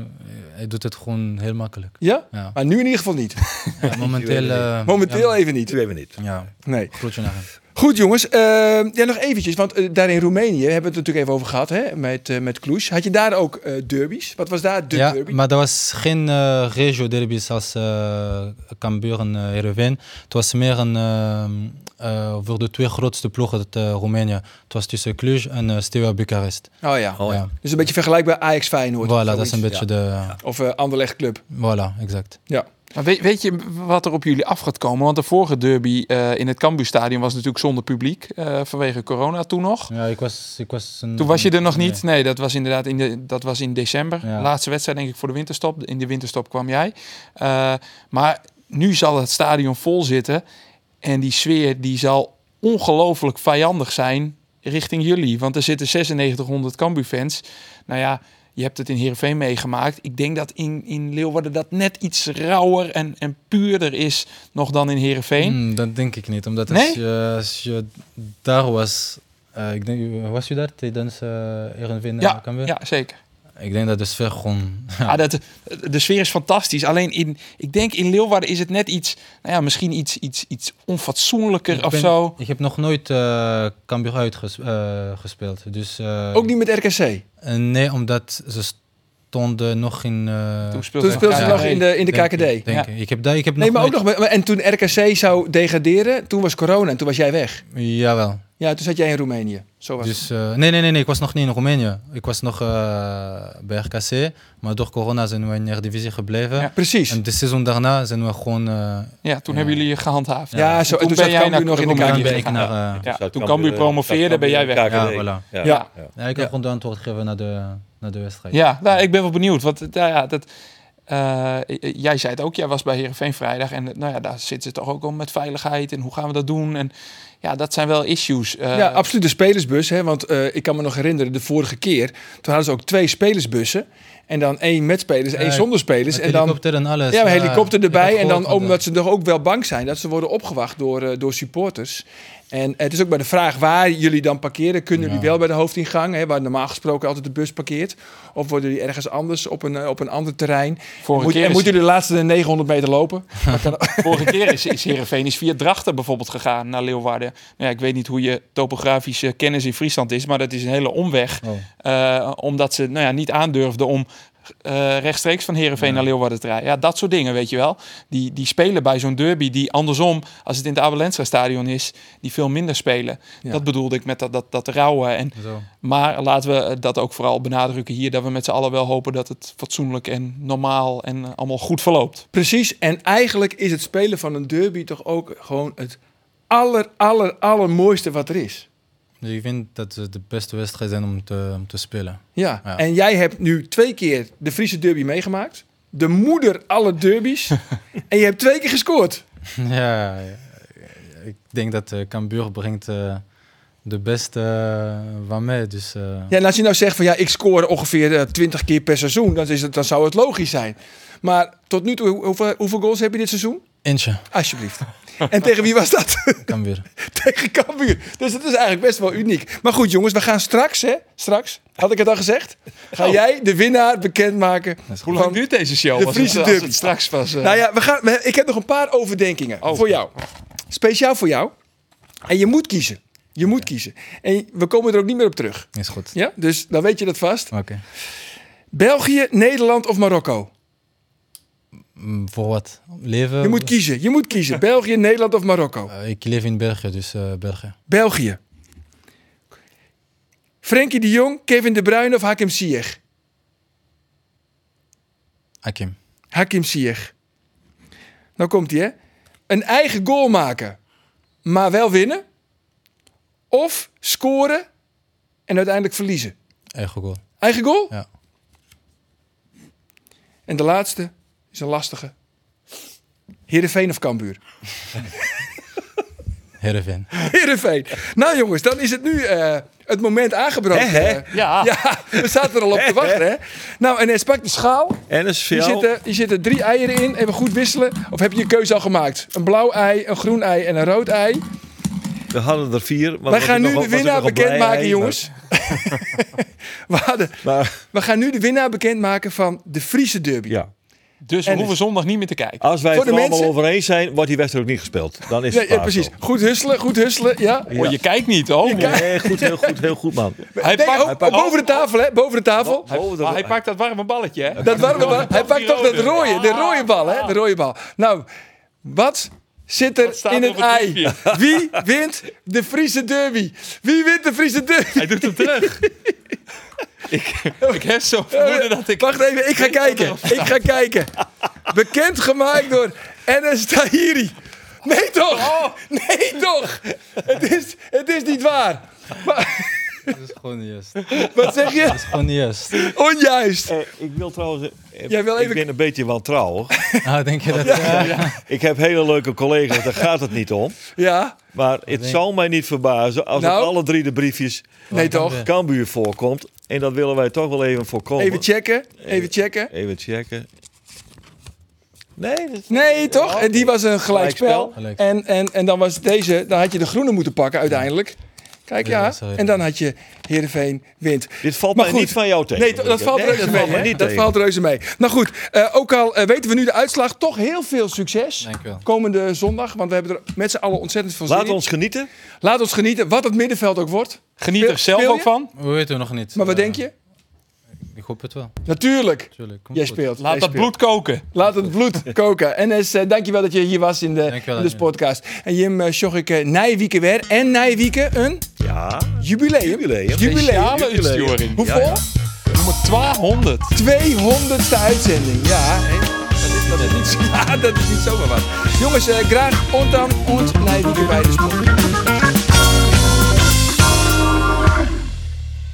hij doet het gewoon heel makkelijk.
Ja?
Ja.
Maar nu in ieder geval niet.
Ja, momenteel... eh,
Momenteel even niet.
Twee hebben niet.
Ja, ja,
Nee.
groetje naar hem.
Goed jongens, Eh, ja, nog eventjes, want eh, daar in Roemenië hebben we het natuurlijk even over gehad hè, met, eh met Cluj. Had je daar ook eh, derbies? Wat was daar de
ja, Oh,
derby?
maar dat was geen eh, regio derby als eh Cambuur en eh, Heerenveen. Het was meer een, eh, eh, voor de twee grootste ploegen uit eh, Roemenië. Het was tussen Cluj en eh Steaua Bucharest.
Oh ja.
Oh, ja.
Dus een beetje vergelijkbaar Ajax Feyenoord. of
Voilà, dat is
zoiets.
een beetje de...
Ja. Of eh Anderlecht Club.
Voilà, exact.
Ja.
Maar weet, weet je wat er op jullie af gaat komen? Want de vorige derby eh, in het Cambuurstadion was natuurlijk zonder publiek. eh, vanwege corona toen nog.
Ja, ik was... Ik was een,
Toen was je er nog
Nee.
niet. Nee, dat was inderdaad in, de, dat was in december.
Ja.
Laatste wedstrijd denk ik voor de winterstop. In de winterstop kwam jij. Eh, maar nu zal het stadion vol zitten. En die sfeer die zal ongelooflijk vijandig zijn richting jullie. Want er zitten 9600 Cambu-fans. Nou ja, je hebt het in Heerenveen meegemaakt. Ik denk dat in, in Leeuwarden dat net iets rauwer en, en puurder is nog dan in Heerenveen.
Mm, dat denk ik niet, omdat
Nee?
als, je, als je daar was... eh, ik denk, was je daar tijdens eh Heerenveen en
Ja,
Cambuur?
ja, zeker.
Ik denk dat de sfeer gewoon...
Ah, dat, de sfeer is fantastisch. Alleen in, ik denk in Leeuwarden is het net iets, nou ja, misschien iets, iets, iets onfatsoenlijker
Ik
of
ben-
zo.
Ik heb nog nooit eh Cambuur uitgespeeld. dus, eh,
Ook niet met RKC.
Eh, nee, omdat ze stonden nog in. eh,
Toen speelde
Toen
ze
speelde ze
elkaar.
nog in de, in de
denk
KKD.
Ik, denk
Ja.
ik. Ik heb, daar- ik heb
Nee, maar ook nog.
nooit-
met- maar- En toen RKC zou degraderen, toen was corona en toen was jij weg.
Jawel.
Ja, toen zat jij in Roemenië. Zo was het.
Dus, eh, nee, nee, nee, nee, ik was nog niet in Roemenië. Ik was nog eh, bij RKC. Maar door corona zijn we in de divisie gebleven.
Ja.
Precies.
En de seizoen daarna zijn we gewoon. eh,
Ja, toen hebben jullie je gehandhaafd.
Ja, zo. En toen zat
jij nou
Cambuur
naar
nog in de
Roemenië
dan
KKD.
ben ik
gegaan.
naar. eh,
Ja,
Staat
toen
Cambuur,
Cambuur promoveerde,
staat
ben jij
Cambuur
weg.
in de
weg. Ja,
KKD.
voilà.
Ja, ja.
ja, ik heb gewoon de antwoord gegeven naar de, naar de wedstrijd.
Ja, nou, ik ben wel benieuwd. Want eh, nou ja, dat, eh, jij zei het ook, jij was bij Heerenveen vrijdag. En eh, nou ja, daar zitten ze toch ook om met veiligheid en hoe gaan we dat doen. En ja, dat zijn wel issues. eh,
Ja, absoluut de spelersbus. Hè? Want eh, ik kan me nog herinneren, de vorige keer, toen hadden ze ook twee spelersbussen. En dan één met spelers, één
Ja,
zonder spelers.
Met
dus En dan
helikopter en alles.
ja, een helikopter
ik heb
erbij. En
gehoord
dan
van de-
omdat ze toch ook wel bang zijn dat ze worden opgewacht door, eh, door supporters. En het is ook bij de vraag waar jullie dan parkeren. Kunnen jullie
Ja.
wel bij de hoofdingang, hè, waar normaal gesproken altijd de bus parkeert? Of worden jullie ergens anders op een, eh, op een ander terrein?
vorige,
Moet,
keer
en
is,
moeten jullie de laatste 900 meter lopen?
vorige keer is, is Heerenveen is via Drachten bijvoorbeeld gegaan naar Leeuwarden. Nou ja, ik weet niet hoe je topografische kennis in Friesland is, maar dat is een hele omweg.
Oh.
Eh, omdat ze nou ja, niet aandurfden om eh, rechtstreeks van Herenveen naar Leeuwarden te rijden. Ja, dat soort dingen, weet je wel. Die, die spelen bij zo'n derby die andersom, als het in het Abelensra stadion is, die veel minder spelen.
Ja.
Dat bedoelde ik met dat, dat, dat rauwe. En,
Zo.
maar laten we eh, dat ook vooral benadrukken hier, dat we met z'n allen wel hopen dat het fatsoenlijk en normaal en eh, allemaal goed verloopt.
Precies, en eigenlijk is het spelen van een derby toch ook gewoon het aller, aller, allermooiste wat er is.
Dus ik vind dat ze de beste wedstrijd zijn om te, om te spelen.
Ja.
Ja.
en jij hebt nu twee keer de Friese derby meegemaakt. De moeder aller derbies. en je hebt twee keer gescoord.
ja, ik denk dat eh Cambuur brengt eh, de beste eh, waarmee. Dus, eh,
Ja, en als je nou zegt van ja, ik score ongeveer eh, 20 keer per seizoen, dan, is het, dan zou het logisch zijn. Maar tot nu toe, hoe- hoeveel, hoeveel goals heb je dit seizoen?
Eentje,
Alsjeblieft. En tegen wie was dat?
kan weer.
tegen Cambuur. Dus dat is eigenlijk best wel uniek. Maar goed jongens, we gaan straks, hè, straks, had ik het al gezegd, ga
Oh.
jij de winnaar bekendmaken.
Hoe lang duurt deze show?
De
als het,
Friese
als
derby.
het Oh. straks was. eh,
Nou ja, we gaan, we- ik heb nog een paar overdenkingen voor jou. Speciaal voor jou. En je moet kiezen. Je moet kiezen. En we komen er ook niet meer op terug.
Is goed.
Ja? Dus dan weet je dat vast.
Oké.
België, Nederland of Marokko?
Mm, Voor wat? Leven?
Je moet kiezen. Je moet kiezen. België, Nederland of Marokko?
Eh, ik leef in België, dus eh, België.
België. Frenkie de Jong, Kevin de Bruyne of Hakim Ziyech?
Hakim.
Hakim Ziyech. Nou komt hij, hè? Een eigen goal maken, maar wel winnen. Of scoren en uiteindelijk verliezen.
Eigen goal.
Eigen goal?
Ja.
En de laatste is een lastige. Heerenveen of Kambuur?
Heerenveen.
Heerenveen. Nou jongens, dan is het nu eh, het moment aangebroken. Eh,
ja.
ja, we zaten er al op te wachten. Hè? Nou, en hij spakt de schaal.
En is
Hier
veel.
zitten, hier zitten drie eieren in. Even goed wisselen. Of heb je je keuze al gemaakt? Een blauw ei, een groen ei en een rood ei.
We hadden er vier.
Wij
maar was Oh, ik
gaan nu
nog wel-
de
was ik
winnaar
nog wel blij,
bekendmaken,
hè,
jongens. we, hadden,
Maar, maar
we gaan nu de winnaar bekendmaken van de Friese derby.
ja.
dus we
en-
hoeven zondag niet meer te kijken.
Als wij
Voor
het
de
er allemaal
mensen-
over eens zijn, wordt die wedstrijd ook niet gespeeld. Dan is
Ja,
het
ja,
klaar
precies.
zo.
Goed husselen, goed husselen. Ja.
Ja.
Oh, je kijkt niet, oh.
Nee, goed, heel goed, heel goed, man.
Hij
Nee,
pakt-
oh, oh, boven de tafel, hè? Boven de tafel.
Hij,
Oh, dat-
maar Ah, hij pakt dat warme balletje, hè?
Dat warme bal. Hij pakt toch dat
die rode.
rode, de
Ah.
rode bal, hè? De rode bal. Nou, wat zit er
staat
in
er
het
op het
ei?
briefje?
Wie wint de Friese derby? Wie wint de Friese derby?
Hij doet hem terug. ik, ik heb zo'n vermoeden dat ik...
Wacht even, ik ga kijken. Ik ga kijken. Bekendgemaakt door Enes Tahiri. Nee
Oh.
toch? Nee toch? Het is, het is niet waar. Maar,
Dat is gewoon niet juist. Dat
wat zeg je?
is gewoon niet juist.
Onjuist.
Eh, ik wil trouwens... eh,
Jij wil even-
Ik ben een beetje wantrouwig.
Ah, denk je dat... eh,
ik heb hele leuke collega's, daar gaat het niet om.
Ja,
Maar het zal mij niet verbazen als
Nou.
op alle drie de briefjes
nee toch?
Cambuur voorkomt. En dat willen wij toch wel even voorkomen.
Even checken, even checken.
Even checken. Nee, dat is-
Nee, toch? En die was een gelijkspel.
Gelijkspel.
En, en, en dan was deze, dan had je de groene moeten pakken uiteindelijk. Kijk,
Ja,
ja.
sorry.
En dan had je Heerenveen wint.
dit valt
Maar
mij
goed.
niet van jou tegen.
Nee, to- dat
Lucas.
valt
Nee,
reuze
dat
mee.
valt mij
hè?
niet
Dat
tegen.
valt reuze mee. Nou goed, eh, ook al eh, weten we nu de uitslag, toch heel veel succes.
Dankjewel.
Komende zondag, want we hebben er met z'n allen ontzettend veel zin
Laat
in.
ons genieten.
Laat ons genieten, wat het middenveld ook wordt.
Geniet
Speel-
er zelf
speel
ook
je?
van.
we weten nog niet.
Maar wat
Eh,
denk je?
Ik hoop het wel.
Natuurlijk,
Tuurlijk. Komt
jij
goed.
speelt.
Laat
jij
dat
speelt.
bloed koken.
Laat het bloed koken. NS, eh, dankjewel dat je hier was in de,
Dankjewel,
in de
Daniel.
podcast. En Jim eh, zocht ik eh, Nijwieken weer. En Nijwieken een
Ja,
jubileum.
Jubileum.
Jubileum.
Speciale insturing.
Hoeveel?
Ja, ja.
Nummer 200.
200ste uitzending. Ja, hè. dat is, dat is niet, ja, dat is niet zomaar wat. Jongens, eh, graag ontan ons Nijwieken bij de sport.